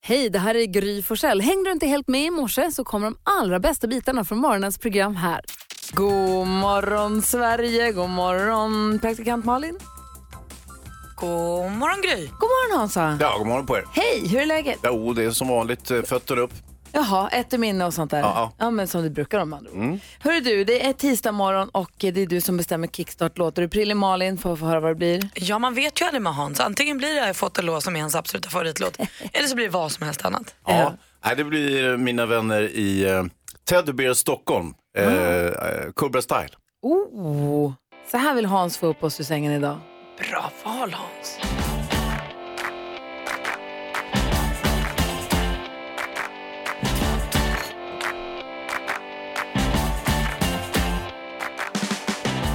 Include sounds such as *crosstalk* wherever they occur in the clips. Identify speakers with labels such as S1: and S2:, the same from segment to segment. S1: Hej, det här är Gry Forssell. Hängde du inte helt med i morse så kommer de allra bästa bitarna från morgonens program här. God morgon Sverige, god morgon praktikant Malin.
S2: God morgon Gry.
S1: God morgon Hansa.
S3: Ja, god morgon på er.
S1: Hej, hur är läget?
S3: Jo, det är som vanligt eh, fötter upp.
S1: Jaha, ett i minne och sånt där.
S3: Ja, ja.
S1: men som det brukar om andra ord.
S3: Mm.
S1: Hörru du, det är tisdag morgon och det är du som bestämmer kickstart-låt. Är du prillig Malin för att få höra vad det blir?
S2: Ja, man vet ju aldrig med Hans. Antingen blir det här Fått och lås som är hans absoluta
S4: *laughs*
S2: favoritlåt, eller så blir det vad som helst annat.
S3: Ja. Nej, det blir eh, mina vänner i eh, Teddy Bear Stockholm, eh,
S1: Mm.
S3: eh, Cobra Style.
S1: Oh, så här vill Hans få upp oss ur sängen idag.
S2: Bra val Hans.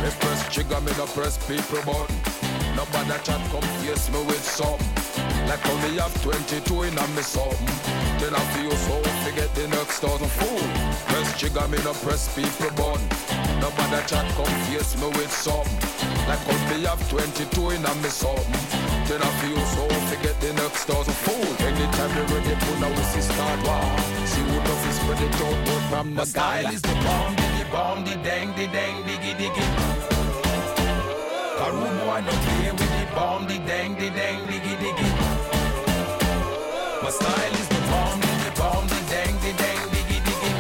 S5: Me press trigger, me no press people button. Nobody chat come face me with some. Like only have 22 in a me something. Then I feel so forget the next thousand fool. Press trigger, me no press people button. Nobody chat come face me with some. Like only have 22 in a me something. Then I feel so forget the next thousand fool. Anytime you ready, put now we see start war. See who does is spread it out but from the sky. is the bomb, the bomb, the dang, the dang, diggy, diggy. Karu boy no play with the bomb, the dang, the dang, diggy, diggy. My style is the bomb, the the bomb, the dang, the dang, diggy, diggy.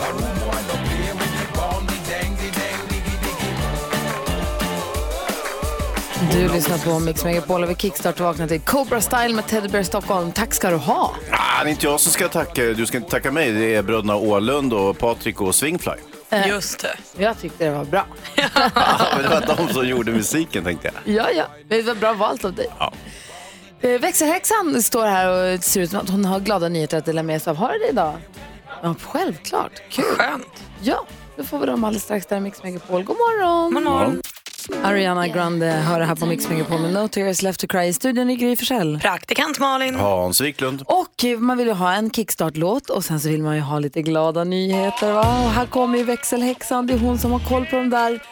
S5: Karu boy no play with the bomb, the dang, the dang, diggy, diggy.
S1: Du lyssnar på Mix Megapol och vi kickstart-vaknar till Cobra Style med Teddy Bear Stockholm. Tack ska du ha.
S3: Ah, det är inte jag som ska tacka Du ska inte tacka mig. Det är bröderna Åhlund och Patrik och Swingfly.
S2: Just det.
S1: Jag tyckte det var bra.
S3: Ja, *laughs* men det var de som gjorde musiken, tänkte jag.
S1: Ja, ja. Det var bra valt av dig.
S3: Ja.
S1: Eh, Växelhäxan står här och ser ut som att hon har glada nyheter att dela med sig av. Har du det idag? Ja, självklart. Kul.
S2: Skönt.
S1: Ja, då får vi dem alldeles strax där i Mix Megapol. God morgon!
S2: God morgon.
S1: Ariana Grande hör det här på Mix Megapol med No Tears Left To Cry. I studion i Gry Forssell.
S2: Praktikant
S1: Mm.
S2: Malin.
S3: Hans Wiklund.
S1: Och eh, man vill ju ha en kickstart-låt och sen så vill man ju ha lite glada nyheter. Va? Och här kommer ju växelhäxan, det är hon som har koll på de där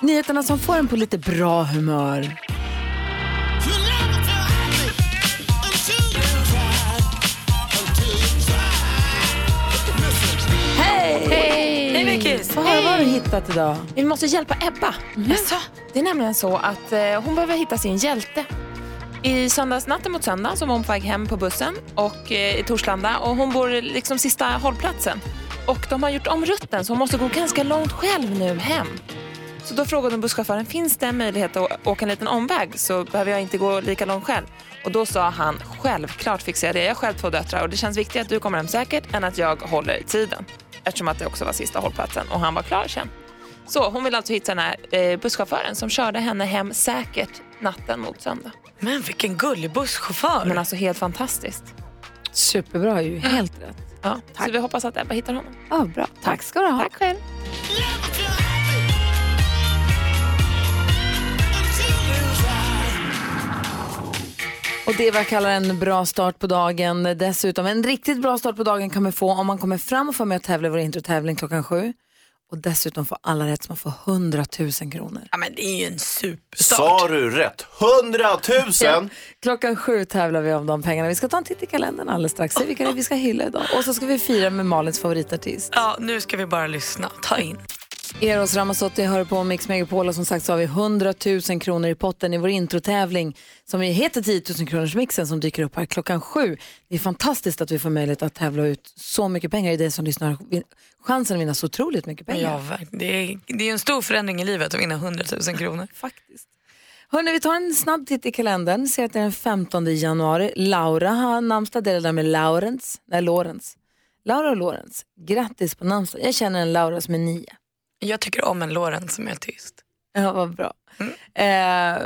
S1: nyheterna som får en på lite bra humör.
S4: Hej!
S2: Hej Vickis.
S1: Vad har du hittat idag?
S4: Vi måste hjälpa Ebba. Det är nämligen så att eh, hon behöver hitta sin hjälte. I söndagsnatten mot söndag så var hon på väg hem på bussen och, eh, i Torslanda och hon bor liksom sista hållplatsen. Och de har gjort om rutten så hon måste gå ganska långt själv nu hem. Så då frågade hon busschauffören, finns det en möjlighet att å- åka en liten omväg så behöver jag inte gå lika långt själv? Och då sa han, självklart fixar jag det. Jag har själv två döttrar och det känns viktigare att du kommer hem säkert än att jag håller tiden. Eftersom att det också var sista hållplatsen och han var klar sen. Så hon vill alltså hitta den här eh, busschauffören som körde henne hem säkert natten mot söndag.
S2: Men vilken gullig busschaufför.
S4: Men alltså helt fantastiskt.
S1: Superbra ju, helt rätt.
S4: Ja, så vi hoppas att Ebba hittar honom.
S1: Ja, bra. Tack ska du ha.
S4: Tack själv.
S1: Och det är vad jag kallar en bra start på dagen. Dessutom en riktigt bra start på dagen kan man få om man kommer fram och får med och tävlar i vår introtävling klockan sju. Och dessutom får alla rätt så man får 100 000 kronor.
S2: ja, men det är ju en superstart.
S3: Sa du rätt? 100 000!
S1: Klockan sju tävlar vi om de pengarna. Vi ska ta en titt i kalendern alldeles strax. Se vilka det är vi ska hylla idag. Och så ska vi fira med Malins favoritartist.
S2: Ja, nu ska vi bara lyssna. Ta in.
S1: Eros Ramazzotti hör på Mix Megapol och som sagt så har vi 100 000 kronor i potten i vår introtävling som ju heter 10 000 kronors mixen som dyker upp här klockan sju. Det är fantastiskt att vi får möjlighet att tävla ut så mycket pengar. Det är det som lyssnar vin- chansen att vinna så otroligt mycket pengar.
S2: Ja, verkligen. det är, det är ju en stor förändring i livet att vinna 100 000 kronor.
S1: faktiskt. Hörrni, vi tar en snabb titt i kalendern. Ser att det är den 15 januari. Laura har namnsdag. Det är det där med Laurens. Nej, Lorens. Laura och Lorens. Grattis på namnsdagen. Jag känner en Laura som är nio.
S2: Jag tycker om en Loren som är tyst. Mm.
S1: Ja, vad bra. Eh,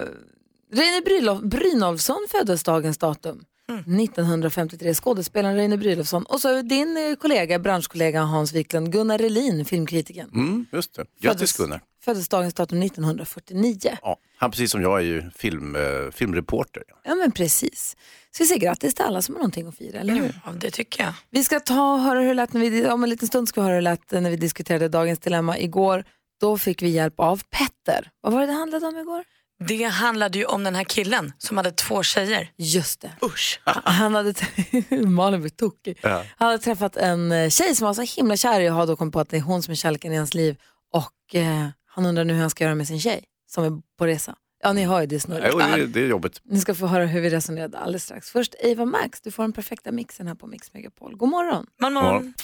S1: Reine Brylov- Brynolfsson föddes dagens datum.
S2: Mm.
S1: 1953, skådespelaren Reine Brynolfsson. Och så din eh, kollega, branschkollega Hans Wiklund, Gunnar Relin, filmkritiken.
S3: Mm, just det. Grattis Gunnar.
S1: Föddes dagens datum 1949.
S3: Ja, han precis som jag är ju film, eh, filmreporter.
S1: Ja, men precis. Så vi säger grattis till alla som har någonting att fira, eller hur?
S2: Ja, det tycker jag.
S1: Vi ska ta och höra hur det lät när vi, om en liten stund ska vi höra hur det lät när vi diskuterade dagens dilemma igår. Då fick vi hjälp av Petter. Vad var det det handlade om igår?
S2: Det handlade ju om den här killen som hade två tjejer.
S1: Just det.
S2: Usch.
S1: *laughs* Han hade, Malin blir tokig.
S3: Ja.
S1: Han hade träffat en eh, tjej som var så himla kär i och har då kommit på att det är hon som är kärleken i hans liv. Och eh, han undrar nu hur han ska göra med sin tjej som är på resa. Ja, ni hör ju det snurret.
S3: Jo, det, det är jobbigt.
S1: Ni ska få höra hur vi resonerade alldeles strax. Först Eva Max, du får den perfekta mixen här på Mix Megapol. God morgon!
S2: Man, man.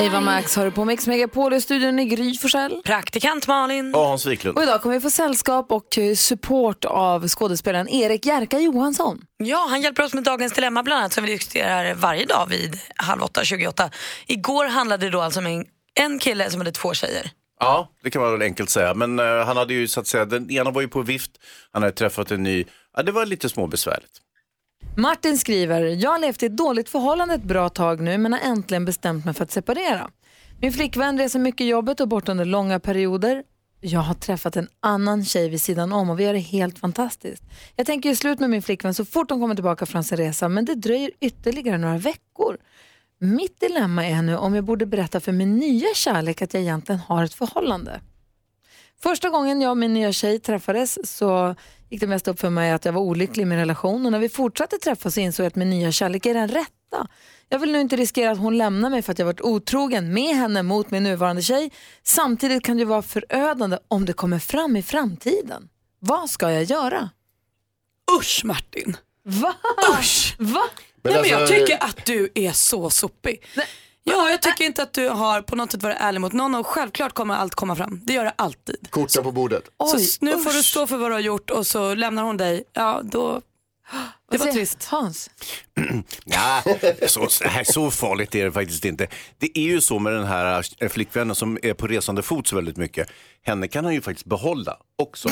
S1: Eva Max har du på Mix Megapol i studion i Gry Forssell.
S2: Praktikant Malin.
S3: Ja, Hans Wiklund.
S1: Och idag kommer vi få sällskap och eh, support av skådespelaren Erik Jerka Johansson.
S2: Ja, han hjälper oss med dagens dilemma bland annat som vi diskuterar varje dag vid halv åtta, 28. Igår handlade det då alltså om en, en kille som hade två tjejer.
S3: Ja, det kan man väl enkelt säga. Men eh, han hade ju så att säga, den ena var ju på vift, han hade träffat en ny. Ja, det var lite *laughs* småbesvärligt.
S1: Martin skriver, jag har levt i ett dåligt förhållande ett bra tag nu men har äntligen bestämt mig för att separera. Min flickvän reser mycket i jobbet och bort under långa perioder. Jag har träffat en annan tjej vid sidan om och vi har det helt fantastiskt. Jag tänker ju slut med min flickvän så fort hon kommer tillbaka från sin resa men det dröjer ytterligare några veckor. Mitt dilemma är nu om jag borde berätta för min nya kärlek att jag egentligen har ett förhållande. Första gången jag och min nya tjej träffades så gick det mest upp för mig att jag var olycklig i min relation och när vi fortsatte träffas så insåg jag att min nya kärlek är den rätta. Jag vill nu inte riskera att hon lämnar mig för att jag varit otrogen med henne mot min nuvarande tjej. Samtidigt kan det ju vara förödande om det kommer fram i framtiden. Vad ska jag göra?
S6: Usch Martin.
S1: Va?
S6: Usch.
S1: Va?
S6: Nej, men jag tycker att du är så sopig. Ja, jag tycker inte att du har på något sätt varit ärlig mot någon och självklart kommer allt komma fram. Det gör det alltid.
S7: Korta på bordet.
S6: Så
S1: Oj,
S6: s- nu får du stå för vad du har gjort och så lämnar hon dig. Ja,
S1: *gasps*
S6: då... Det var
S1: Se,
S6: trist.
S1: Hans,
S3: Ja, så, så här, så farligt är det faktiskt inte. Det är ju så med den här eh, flickvännen som är på resande fot så väldigt mycket. Henne kan han ju faktiskt behålla också.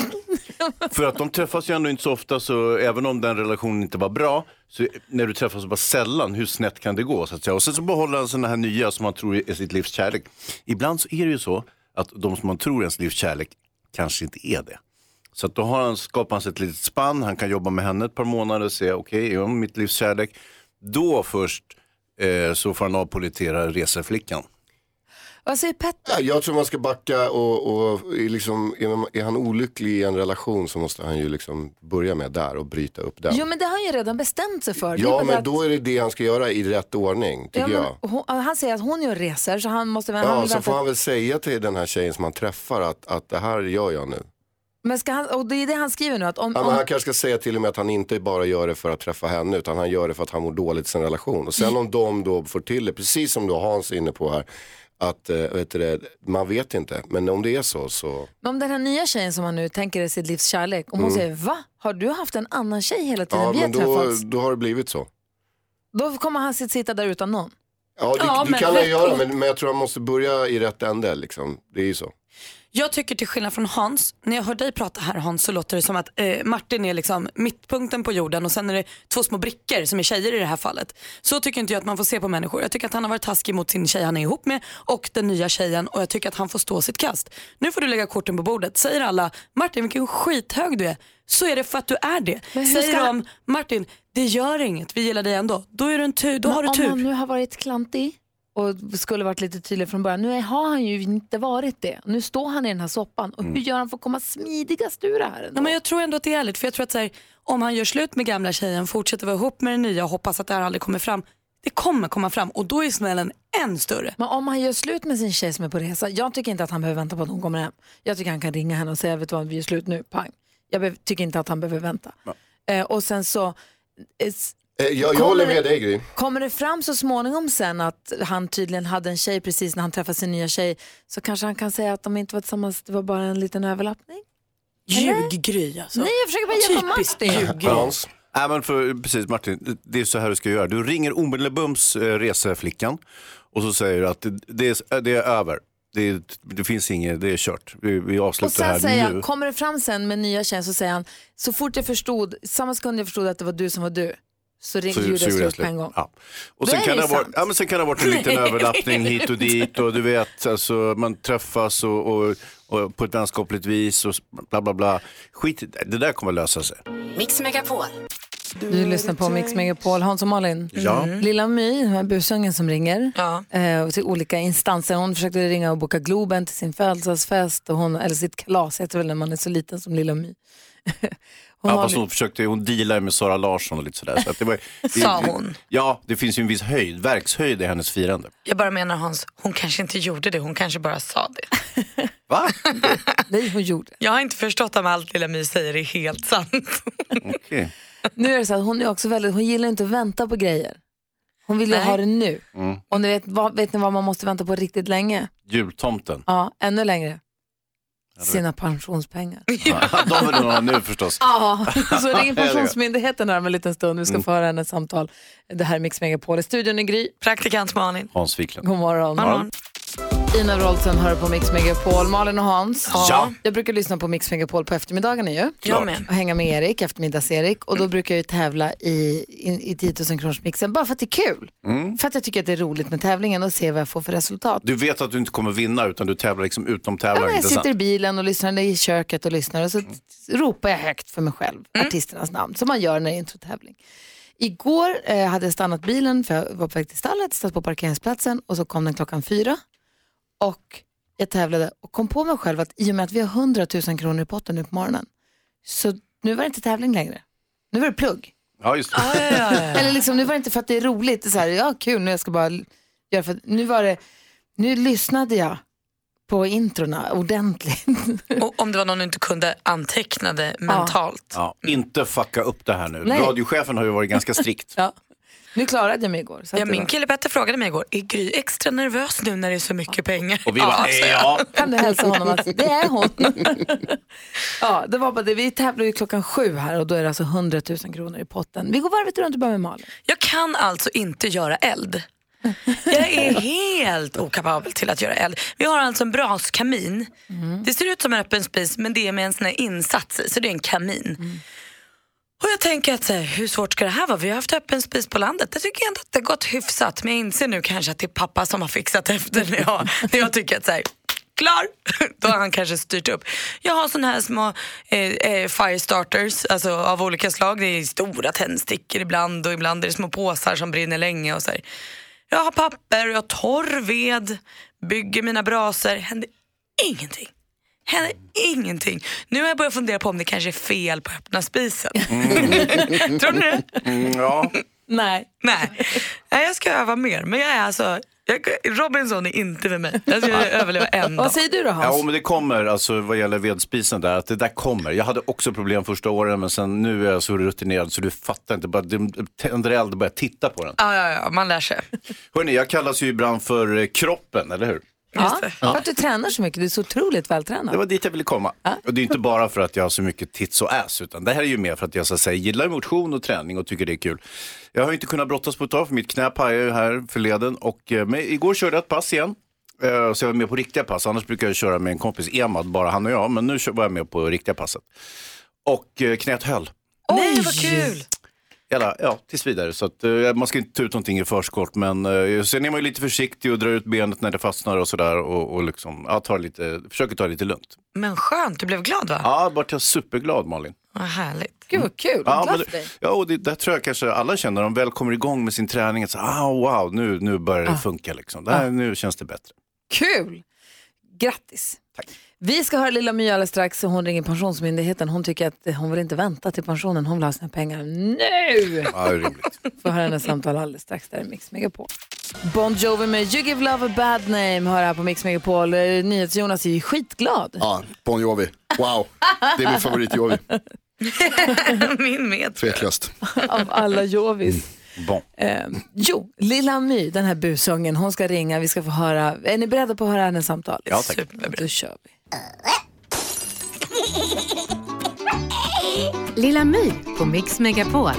S3: För att de träffas ju ändå inte så ofta så även om den relationen inte var bra så när du träffas så bara sällan, hur snett kan det gå? Så att säga. Och sen så behåller han sådana här nya som han tror är sitt livs kärlek. Ibland så är det ju så att de som man tror är ens livs kärlek kanske inte är det. Så att då har han skapat sig ett litet spann, han kan jobba med henne ett par månader och se, okej, är hon mitt livs kärlek? Då först eh, så får han avpolitera reseflickan.
S1: vad säger Petter?
S7: Ja, Jag tror man ska backa och, och är liksom, är, man, är han olycklig i en relation så måste han ju liksom börja med där och bryta upp där.
S1: Jo men det har han ju redan bestämt sig för. Det är bara
S7: Ja
S1: det
S7: men
S1: att-
S7: då är det det han ska göra i rätt ordning
S1: Ja,
S7: tycker
S1: men
S7: jag.
S1: hon, han säger att hon gör resor så han måste... han
S7: Ja,
S1: vill
S7: så
S1: vänta-
S7: får han väl säga till den här tjejen som han träffar att, att det här gör jag nu.
S1: Men ska han, och det är det han skriver nu, att om,
S7: Ja, men
S1: om,
S7: han kanske ska säga till och med att han inte bara gör det för att träffa henne utan han gör det för att han mår dåligt i sin relation. Och sen om de då får till det, precis som då Hans är inne på här, att eh, vet du det, man vet inte. Men om det är så så,
S1: om den här nya tjejen som han nu tänker är sitt livs kärlek, om hon säger va? Har du haft en annan tjej hela tiden
S7: Mm. ja
S1: vi har
S7: men då,
S1: träffats?
S7: då har det blivit så.
S1: Då kommer han sit- sitta där utan någon.
S7: Ja, det,
S6: Ja,
S7: det
S6: men
S7: kan han
S6: rätt
S7: göra,
S6: upp.
S7: men, men jag tror han måste börja i rätt ände. Liksom. Det är ju så.
S6: Jag tycker till skillnad från Hans, när jag hör dig prata här Hans så låter det som att eh, Martin är liksom mittpunkten på jorden och sen är det två små brickor som är tjejer i det här fallet. Så tycker inte jag att man får se på människor. Jag tycker att han har varit taskig mot sin tjej han är ihop med och den nya tjejen och jag tycker att han får stå sitt kast. Nu får du lägga korten på bordet. Säger alla Martin vilken skithög du är så är det för att du är det.
S1: Men hur
S6: Säger
S1: ska-
S6: de Martin det gör inget vi gillar dig ändå. Då, är du en tur, då
S1: Men
S6: har du
S1: om
S6: tur.
S1: han nu har varit klantig och skulle varit lite tydlig från början. Nu är- har han ju inte varit det. Nu står han i den här soppan. Och
S7: Mm.
S1: hur gör han för att komma smidigast ur det här? ändå?
S6: Nej, men jag tror ändå att det är ärligt. För jag tror att så här, om han gör slut med gamla tjejen, fortsätter vara ihop med den nya och hoppas att det här aldrig kommer fram. Det kommer komma fram och då är smällen än större.
S1: Men om han gör slut med sin tjej som är på resa, jag tycker inte att han behöver vänta på att hon kommer hem. Jag tycker han kan ringa henne och säga, vet du vad, vi gör slut nu, pang. Jag behöver- tycker inte att han behöver vänta. Eh, och sen så, eh, s-
S7: Eh, Jag, jag
S1: Kommer
S7: håller
S1: det-
S7: med dig Gry.
S1: kommer det fram så småningom sen att han tydligen hade en tjej precis när han träffade sin nya tjej, så kanske han kan säga att de inte var tillsammans, det var bara en liten överlappning.
S6: Ljuggry alltså.
S1: Nej, jag försöker bara hjälpa
S6: Typiskt
S1: Martin.
S7: Hans,
S3: Nej, men för, precis Martin, det är så här du ska göra. Du ringer omedelbums eh, reseflickan och så säger du att det, det, är, det är över. Det, det finns inget, det är kört. Vi, vi
S1: Och
S3: avslutar
S1: sen säger
S3: här
S1: han,
S3: nu.
S1: kommer det fram sen med nya tjejen så säger han, så fort jag förstod, samma sekund jag förstod att det var du som var du, så, ring, gjorde jag
S3: gjorde jag
S1: slut på en gång.
S3: Ja. Och
S1: Då
S3: sen
S1: är
S3: kan,
S1: det
S3: det ha varit,
S1: sant.
S3: ja, men sen kan det ha varit en
S1: *laughs*
S3: liten överlappning hit och dit och du vet, alltså, man träffas och, och, och på ett vänskapligt vis och bla bla bla. Skit i det. det där kommer lösa sig.
S8: Mix Megapol.
S1: Du lyssnar på Mix Megapol, Hans och Malin. Mm.
S3: Ja.
S1: Lilla My, den här busungen som ringer
S2: Ja.
S1: eh, till olika instanser. Hon försökte ringa och boka Globen till sin födelsedagsfest och hon, eller sitt kalas heter väl när man är så liten som Lilla My. Hon
S3: ja,
S1: har-
S3: fast hon försökte, hon dealade med Sara Larsson och lite sådär. Så att
S1: *laughs*
S3: det var,
S2: Sa hon.
S3: Ja, det finns ju en viss höjd, verkshöjd i hennes firande.
S2: Jag bara menar Hans, hon kanske inte gjorde det, hon kanske bara sa det.
S6: *laughs*
S3: Va?
S1: Nej, hon gjorde.
S2: Jag har inte förstått om allt Lilla My säger är helt sant.
S3: Okej.
S1: Nu är det så att hon är också väldigt, hon gillar inte att vänta på grejer. Hon vill ju
S2: Nej.
S1: ha det nu.
S3: Mm.
S1: Och ni vet, vad, vet ni vad man måste vänta på riktigt länge? *laughs*
S3: Jultomten.
S1: Ja, ännu längre. Sina pensionspengar.
S3: De vill hon ha nu förstås. *laughs*
S1: Ja, så ringer Pensionsmyndigheten här om en liten stund. Vi ska få höra hennes samtal. Det här är Mix Megapol. I studion är Gry.
S2: Praktikant Malin.
S3: Hans Wiklund.
S1: God morgon.
S2: God morgon.
S1: Ina Wroldsen hör på Mix Megapol. Malin och Hans.
S3: Ja.
S1: Jag brukar lyssna på Mix Megapol på eftermiddagarna ju.
S2: Jag med. Mm.
S1: och hänga med Erik, eftermiddags-Erik. Och då brukar jag ju tävla i, i, i 10 000 kronors mixen bara för att det är kul. För att jag tycker att det är roligt med tävlingen och se vad jag får för resultat.
S3: Du vet att du inte kommer vinna utan du tävlar liksom utom
S1: Ja,
S3: tävlar.
S1: men jag
S3: inte sant? Mm.
S1: sitter i bilen och lyssnar, i köket och lyssnar och så ropar jag högt för mig själv, artisternas namn, som man gör när det är introtävling. Igår eh, hade jag stannat bilen för jag var på väg till stallet, stått på parkeringsplatsen och så kom den klockan fyra. Och jag tävlade och kom på mig själv att i och med att vi har 100 000 kronor i potten nu på morgonen, så nu var det inte tävling längre. Nu var det plugg.
S3: Ja, just det.
S1: Eller liksom, nu var det inte för att det är roligt, det är så här, ja kul, nu jag ska bara göra för att, nu var det, nu lyssnade jag på introna ordentligt.
S2: Och om det var någon du inte kunde, antecknade mentalt.
S3: Ja, inte fucka upp det här nu.
S1: Nej.
S3: Radiochefen har ju varit ganska strikt.
S1: *laughs* Ja. Nu klarade jag mig igår. Så att
S2: Ja,
S1: det
S2: min
S1: var-
S2: kille Petter frågade mig igår, är Gry extra nervös nu när det är så mycket pengar?
S3: Och vi bara,
S2: alltså,
S3: eh, ja.
S1: Kan du hälsa honom att det är hon? *laughs* ja, det var bara det. Vi tävlar ju klockan sju här och då är det alltså 100 000 kronor i potten. Vi går varvet runt och börjar med Malin.
S2: Jag kan alltså inte göra eld. Jag är helt okapabel till att göra eld. Vi har alltså en braskamin.
S1: Mm.
S2: Det ser ut som en öppen spis men det är med en sån här insats i, så det är en kamin.
S1: Mm.
S2: Och jag tänker att så här, hur svårt ska det här vara? Vi har haft öppen spis på landet. Jag tycker ändå att det har gått hyfsat men jag inser nu kanske att det är pappa som har fixat efter när jag, när jag tycker att så här, klar, *laughs* då har han kanske styrt upp. Jag har såna här små eh, eh, firestarters alltså av olika slag. Det är stora tändstickor ibland och ibland är det små påsar som brinner länge och så här. Jag har papper, jag har torr ved, bygger mina brasor. Händer ingenting. Händer ingenting. Nu har jag börjat fundera på om det kanske är fel på öppna spisen. *laughs*
S1: Mm.
S2: Tror ni det?
S3: Mm, ja.
S1: Nej.
S2: Nej. Nej, jag ska öva mer. Men jag är alltså... Jag, Robinson är inte för mig.
S1: *laughs*
S2: Jag ska överleva en dag.
S1: Vad säger du då Hans?
S3: Ja, men det kommer, alltså vad gäller vedspisen där, att det där kommer. Jag hade också problem första åren, men sen nu är jag så rutinerad så du fattar inte. Bara det- tänder eld och börjar titta på den.
S2: Ja, ja, ja, man lär sig.
S3: Hörni, jag kallas ju ibland för eh, kroppen, eller hur?
S1: ja. För att du tränar så mycket. Du är så otroligt vältränad.
S3: Det var dit jag ville komma. Och det är inte bara för att jag har så mycket tits och ass, utan det här är ju mer för att jag så att säga, gillar motion och träning och tycker det är kul. Jag har ju inte kunnat brottas på ett tag, för mitt knä pajade ju här förleden. Och, eh, men igår körde jag ett pass igen. Eh, Så jag var med på riktiga pass, annars brukar jag köra med en kompis, Emad, bara han och jag. Men nu kö- var jag med på riktiga passet. Och eh, knät höll.
S2: Nej, vad kul!
S3: Hela, ja, tills vidare. Så att, eh, man ska inte ta ut någonting i förskott. Men eh, sen är man ju lite försiktig och drar ut benet när det fastnar och sådär. Och, och liksom, ja, tar lite, försöker ta det lite lugnt.
S2: Men skönt, du blev glad va?
S3: Ja, vart jag superglad Malin.
S2: Vad härligt.
S1: Gud vad kul.
S3: Ja,
S1: Glad
S3: men,
S1: för dig.
S3: ja, och det, där tror jag kanske alla känner, de väl kommer igång med sin träning, att så, ah, wow, nu, nu börjar det
S1: Ah.
S3: funka liksom. Det här, Nu känns det bättre.
S1: Kul! Grattis! Vi ska höra Lilla My alldeles strax och hon ringer Pensionsmyndigheten. Hon tycker att eh, hon vill inte vänta till pensionen, hon vill ha sina pengar nu!
S3: Ja, det är rimligt.
S1: Får höra hennes samtal alldeles strax. Där är Mix Megapol. *laughs* Bon Jovi med You Give Love A Bad Name hör här på Mix Megapol. Eh, NyhetsJonas är ju skitglad.
S8: Ja, Bon Jovi. Wow,
S2: *laughs*
S8: det är min favorit Jovi.
S2: Min med.
S8: Tveklöst.
S1: Av alla Jovis.
S3: Bon.
S1: Eh, jo, Lilla My, den här busungen, hon ska ringa. Vi ska få höra. Är ni beredda på att höra hennes samtal?
S3: Ja, tack.
S1: Då kör vi.
S9: Lilla My på Mix Megapol.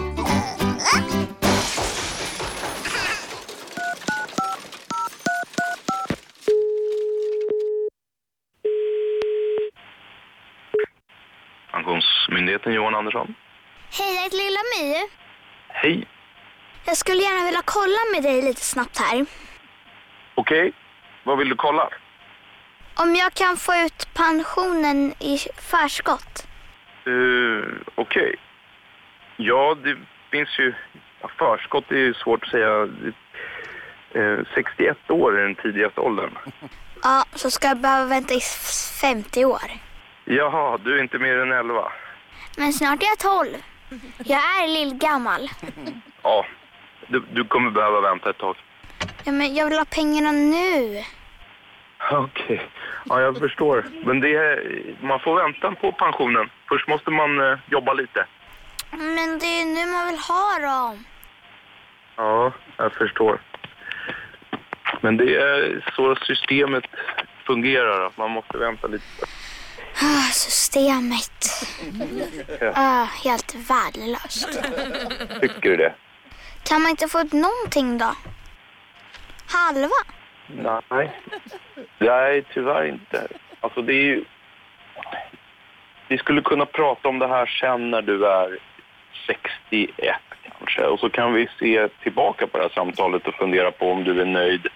S10: Pensionsmyndigheten, Johan Andersson.
S11: Hej, jag heter Lilla My.
S10: Hej.
S11: Jag skulle gärna vilja kolla med dig lite snabbt här.
S10: Okej, vad vill du kolla?
S11: Om jag kan få ut pensionen i förskott?
S10: Eh, Okej. Ja, det finns ju... ja, Förskott är ju svårt att säga. Eh, 61 år är den tidigaste *laughs* åldern.
S11: Ja, så ska jag behöva vänta i f- 50 år.
S10: Jaha, du är inte mer än 11.
S11: men snart är jag 12. Jag är lillgammal.
S10: Ja, du, du kommer behöva vänta ett tag.
S11: Ja, men jag vill ha pengarna nu.
S10: *laughs* Okej, ja, jag förstår. Men det, är- man får vänta på pensionen. Först måste man eh, jobba lite.
S11: Men det är ju nu man vill ha dem.
S10: Ja, jag förstår. Men det är så systemet fungerar, att man måste vänta lite.
S11: Ah, systemet. Ah, helt värdelöst.
S10: Tycker du det?
S11: Kan man inte få ut någonting då? Halva?
S10: Nej. Nej, tyvärr inte. Alltså det är ju... Vi skulle kunna prata om det här sen när du är 61 kanske. Och så kan vi se tillbaka på det här samtalet och fundera på om du är nöjd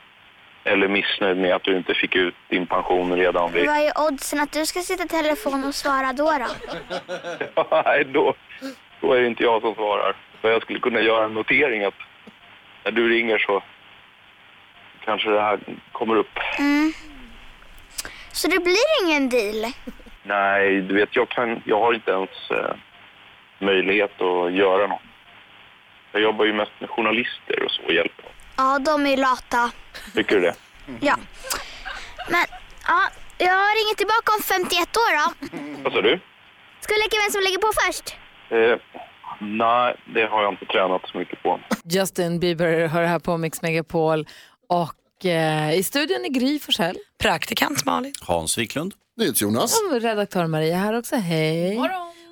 S10: eller missnöjd med att du inte fick ut din pension redan vid...
S11: Vad är oddsen att du ska sitta i telefon och svara då? då?
S10: *laughs* Nej, då, då är det inte jag som svarar. Men jag skulle kunna göra en notering att när du ringer så kanske det här kommer upp.
S11: Mm. Så det blir ingen deal?
S10: Nej, du vet, jag, kan, jag har inte ens eh, möjlighet att göra något. Jag jobbar ju mest med journalister och så och hjälper dem.
S11: Ja, de är lata.
S10: Tycker du det?
S12: Mm.
S11: Ja. Men, ja, jag ringer tillbaka om 51 år då.
S10: Vad sa du?
S11: Ska vi leka vem som lägger på först?
S10: Eh, nej, det har jag inte tränat så mycket på.
S1: Justin Bieber hör här på Mix Megapol och eh, i studion är Gry Forssell.
S2: Praktikant Malin.
S3: Hans Wiklund.
S8: Jonas.
S1: Ja, men Redaktör Maria här också, hej.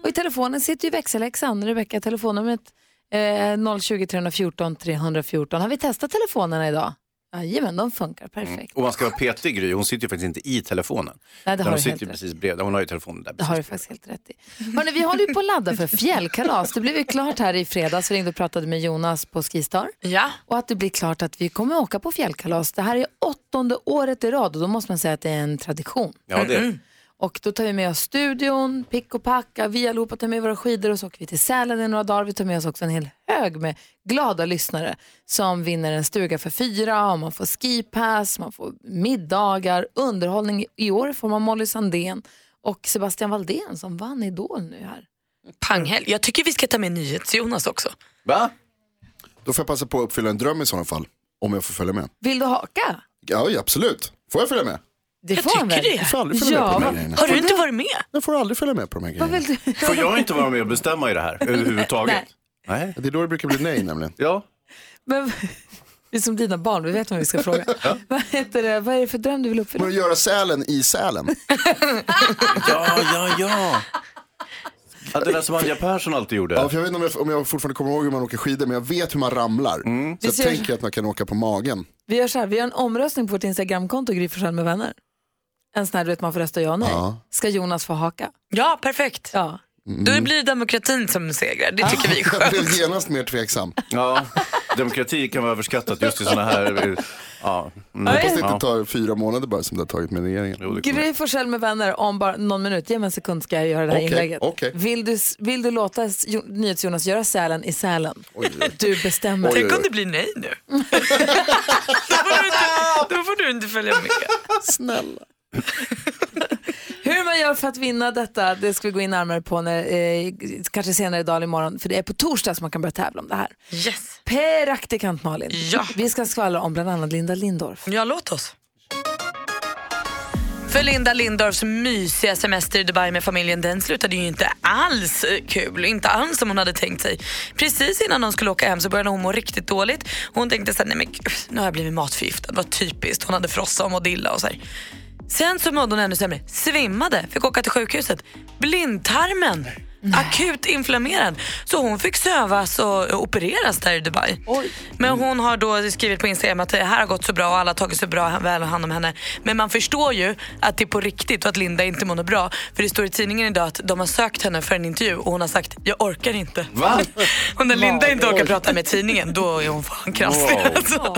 S1: Och i telefonen sitter ju växelläxan, Rebecka, telefonnumret eh, 020 314 314. Har vi testat telefonerna idag? Jajamän, de funkar perfekt.
S3: Och man ska vara petig Gry, hon sitter ju faktiskt inte i telefonen.
S1: Nej, det har
S3: hon
S1: du
S3: sitter
S1: helt
S3: ju
S1: rätt.
S3: precis bredvid, hon har ju telefonen där.
S1: Det har du faktiskt helt rätt i. Hörrni, vi håller ju på att ladda för fjällkalas. Det blev ju klart här i fredags. Vi ringde och pratade med Jonas på Skistar.
S2: Ja.
S1: Och att det blir klart att vi kommer åka på fjällkalas. Det här är åttonde året i rad och då måste man säga att det är en tradition.
S3: Ja, det är det.
S1: Mm. Och då tar vi med oss studion, pick och packa, vi allihopa tar med våra skidor och så åker vi till Sälen i några dagar. Vi tar med oss också en hel hög med glada lyssnare som vinner en stuga för fyra och man får skipass, man får middagar, underhållning. I år får man Molly Sandén och Sebastian Valdén som vann Idol nu här.
S2: Panghelg. Jag tycker vi ska ta med NyhetsJonas också.
S3: Va?
S8: Då får jag passa på att uppfylla en dröm i sådana fall. Om jag får följa med.
S1: Vill du haka?
S8: Ja, ja, absolut. Får jag följa med?
S1: Det
S2: jag
S1: får
S2: tycker
S1: han väl?
S2: det.
S8: Jag får aldrig följa med på de här grejerna.
S2: Har du inte varit med?
S8: Jag får aldrig följa med på de här
S1: Vad
S8: grejerna.
S1: vill du?
S3: Får jag inte vara med och bestämma i det
S1: *laughs*
S3: här överhuvudtaget? Nej.
S8: Det är då det brukar bli nej nämligen.
S3: Ja.
S1: Men, *laughs* vi är som dina barn, vi vet vad vi
S3: *laughs*
S1: ska fråga. vad, heter det? vad är det för dröm du vill uppfylla?
S8: Men att göra Sälen i Sälen.
S3: Ja, ja, ja. ja det där som Anja Persson alltid gjorde.
S8: Ja, för jag vet inte om jag, om jag fortfarande kommer ihåg hur man åker skidor, men jag vet hur man ramlar.
S3: Mm.
S8: Så jag
S1: ser-
S8: tänker att man kan åka på magen.
S1: Vi gör så här, vi gör en omröstning på vårt Instagramkonto, Gry Forssell med vänner. En sån här, du vet, man får rösta ja och nej.
S8: Ja.
S1: Ska Jonas få haka?
S2: Ja, perfekt.
S1: Ja.
S2: Då blir det demokratin som segrar. Det tycker vi är
S1: *laughs*
S8: Jag
S2: skönt.
S8: blev genast mer tveksam.
S3: Ja, demokrati kan vara överskattat just i sådana här... eh, Ja. Mm.
S8: Fast det
S3: Ja.
S8: inte tar fyra månader bara som det har tagit med regeringen.
S3: Jo, det kommer.
S1: Gry Forssell med vänner om bara någon minut. Ge mig en sekund ska jag göra det här
S8: Okej,
S1: inlägget.
S8: okej.
S1: Vill, du, vill du låta S- Jo- NyhetsJonas göra Sälen i Sälen? Du bestämmer.
S8: Oj.
S2: Tänk om det blir nej
S1: *laughs*
S2: nu. då, får du inte, då får du inte följa med.
S8: Snälla.
S1: *laughs* Hur man gör för att vinna detta, det ska vi gå in närmare på när, eh, kanske senare idag eller imorgon. För det är på torsdag som man kan börja tävla om det här.
S2: Yes.
S1: Praktikant Malin,
S2: Ja.
S1: vi ska skvallra om bland annat Linda Lindorff.
S2: Ja, låt oss. För Linda Lindorffs mysiga semester i Dubai med familjen den slutade ju inte alls kul. Inte alls som hon hade tänkt sig. Precis innan de skulle åka hem så började hon må riktigt dåligt. Hon tänkte såhär, nej men gud, nu har jag blivit matförgiftad. Vad typiskt. Hon hade frossa och modilla och så här. Sen så mådde hon ännu sämre. Svimmade, fick åka till sjukhuset. Blindtarmen, akut inflammerad. Så hon fick sövas och opereras där i Dubai. Men hon har då skrivit på Instagram att det här har gått så bra och alla har tagit så bra väl hand om henne. Men man förstår ju att det är på riktigt och att Linda inte mår något bra. För det står i tidningen idag att de har sökt henne för en intervju och hon har sagt jag orkar inte.
S3: Va?
S2: *laughs* Och när Linda inte orkar prata med tidningen då är hon fan krasslig.
S3: Wow.
S2: *laughs* Alltså.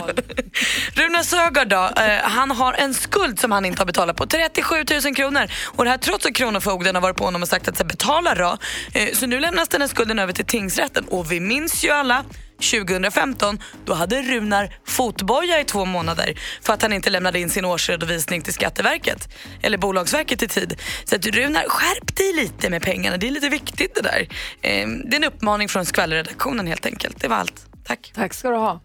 S2: Rune Sögaard då, eh, han har en skuld som han inte har betalat på. 37 000 kronor. Och det här trots att Kronofogden har varit på honom och sagt att så här, betala då. Eh, så nu lämnas den här skulden över till tingsrätten. Och vi minns ju alla 2015, då hade Runar fotboja i två månader för att han inte lämnade in sin årsredovisning till Skatteverket eller Bolagsverket i tid. Så att Runar, skärp dig lite med pengarna. Det är lite viktigt det där. Eh, Det är en uppmaning från skvallerredaktionen helt enkelt. Det var allt. Tack.
S1: Tack ska du ha.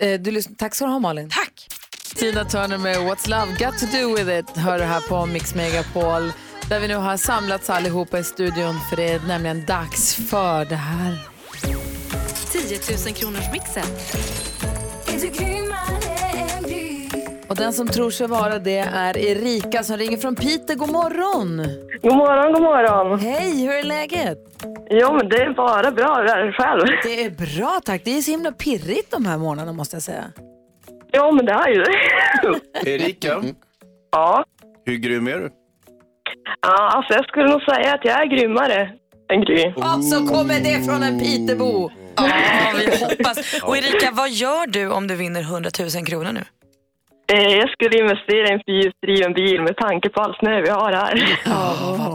S1: Eh, Du, lyssn- tack ska du ha Malin.
S2: Tack.
S1: Tina Turner med What's Love Got To Do With It hör du här på Mix Megapol där vi nu har samlats allihopa i studion för det är nämligen dags för det här.
S9: 10 000 kronors mixen.
S1: Och den som tror sig vara det är Erika som ringer från Piteå. God morgon!
S13: God morgon, god morgon.
S1: Hej, hur är läget?
S13: Jo, men det är bara bra. Hur är det själv?
S1: Det är bra tack. Det är så himla pirrigt de här morgnarna måste jag säga.
S13: Ja, men det är ju det.
S3: Erika?
S13: Ja?
S3: Hur grym är du?
S13: Ja, alltså jag skulle nog säga att jag är grymmare än Gry.
S1: Så Alltså, kommer det från en Pitebo.
S2: Ja, vi hoppas. Och Erika, vad gör du om du vinner 100 000 kronor nu?
S13: Eh, Jag skulle investera i en fyrhjulsdriven bil med tanke på all snö vi har här.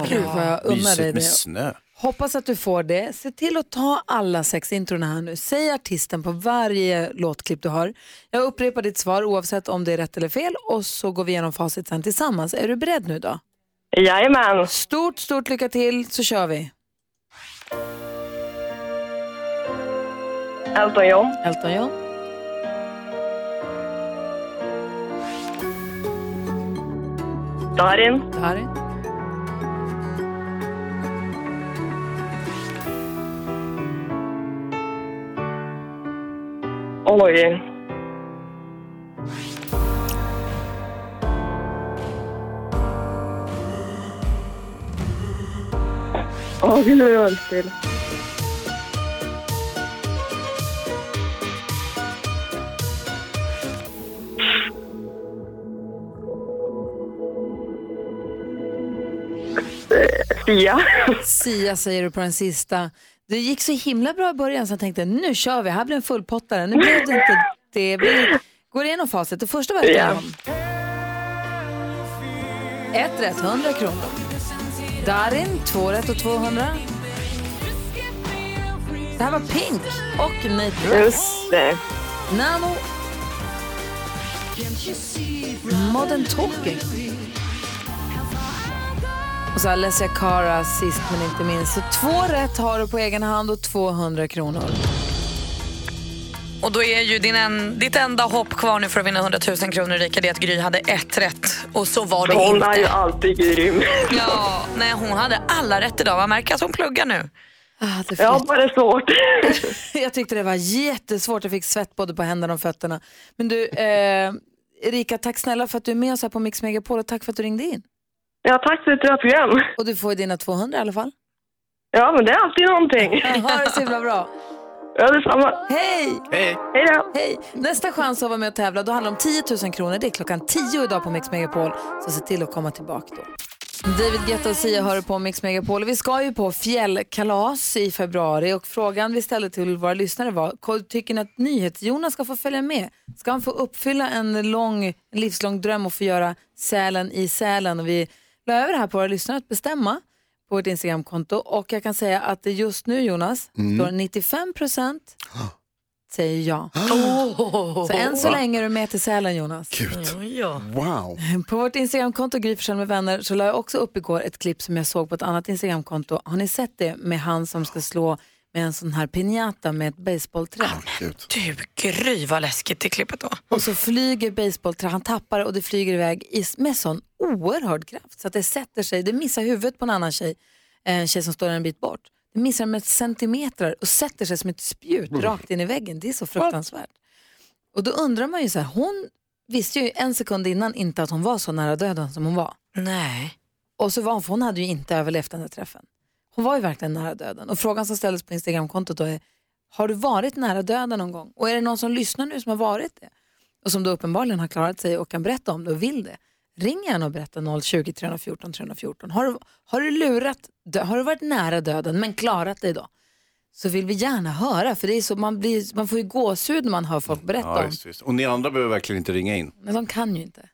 S1: Gud vad jag unnar dig
S3: Mysigt med
S1: det.
S3: snö.
S1: Hoppas att du får det. Se till att ta alla sex introna här nu. Säg artisten på varje låtklipp du har. Jag upprepar ditt svar oavsett om det är rätt eller fel och så går vi igenom facit sen tillsammans. Är du beredd nu då?
S13: Jajamän.
S1: Stort, stort lycka till så kör vi.
S13: Elton John.
S1: Elton John.
S13: Darin.
S1: Darin.
S13: Oj. Åh, gud vad jag höll still. Sia.
S1: Sia säger du på den sista. Det gick så himla bra i början så jag tänkte nu kör vi, här blir en fullpottare. Nu blev det inte det. Vi går igenom facit. Det första var rätt.
S13: Ja.
S1: Ett rätt, 100 kronor. Darin, två rätt och 200. Det här var Pink och Nate Russ.
S13: Just det.
S1: Nano. Modern Talking. Och så Alessia Cara sist men inte minst. Så två rätt har du på egen hand och 200 kronor.
S2: Och då är ju din en, ditt enda hopp kvar nu för att vinna 100 000 kronor Erika, det är att Gry hade ett rätt. Och så var det
S13: Hon är ju
S2: inte.
S13: alltid grym.
S2: Ja, nej, hon hade alla rätt idag. Man märker att hon pluggar nu.
S1: Ah, det
S13: Jag har bara svårt.
S1: *laughs* Jag tyckte det var jättesvårt. Jag fick svett både på händerna och fötterna. Men du, eh, Erika, tack snälla för att du är med oss här på Mix Megapol och tack för att du ringde in.
S13: Ja, tack för ett bra program.
S1: Och du får ju dina 200 i alla fall.
S13: Ja, men det är alltid
S1: *laughs*
S13: någonting.
S1: Ha det så himla bra.
S13: Ja, detsamma.
S1: Hej!
S3: Hej!
S13: Hej då!
S1: Hej! Nästa chans att vara med och tävla, då handlar det om 10 000 kronor. Det är klockan 10 idag på Mix Megapol, så se till att komma tillbaka då. David Guetta och Sia hör på Mix Megapol. Vi ska ju på fjällkalas i februari och frågan vi ställde till våra lyssnare var, "Ko- tycker ni att NyhetsJonas ska få följa med? Ska han få uppfylla en lång, en livslång dröm och få göra Sälen i Sälen? Och vi la över det här på våra lyssnare att bestämma på vårt Instagramkonto och jag kan säga att det just nu Jonas
S14: Mm.
S1: står 95 procent säger
S2: *gasps*
S1: ja. Så än så länge är du med till Sälen Jonas.
S2: Ja.
S8: Wow.
S1: *laughs* På vårt Instagramkonto Gry Forssell med vänner så la jag också upp igår ett klipp som jag såg på ett annat Instagramkonto. Har ni sett det med han som ska slå med en sån här piñata med ett basebollträ?
S2: Du, Gry vad läskigt det klippet då.
S1: Och så flyger basebollträ, han tappar det och det flyger iväg i, med sån oerhörd kraft så att det sätter sig, det missar huvudet på en annan tjej, eh, en tjej som står en bit bort. Det missar med centimeter och sätter sig som ett spjut
S14: Mm.
S1: rakt in i väggen. Det är så fruktansvärt. Och då undrar man ju så här, hon visste ju en sekund innan inte att hon var så nära döden som hon var.
S2: Nej.
S1: Och så var hon, för hon hade ju inte överlevt den här träffen. Hon var ju verkligen nära döden. Och frågan som ställdes på Instagramkontot då är, har du varit nära döden någon gång? Och är det någon som lyssnar nu som har varit det? Och som då uppenbarligen har klarat sig och kan berätta om det och vill det. Ring gärna och berätta 020 314 314. Har du, har du lurat, dö- har du varit nära döden men klarat dig då? Så vill vi gärna höra, för det är så, man, blir, man får ju gåshud när man hör folk berätta
S3: Ja,
S1: om.
S3: just, just. Och ni andra behöver verkligen inte ringa in.
S1: Men de kan ju inte.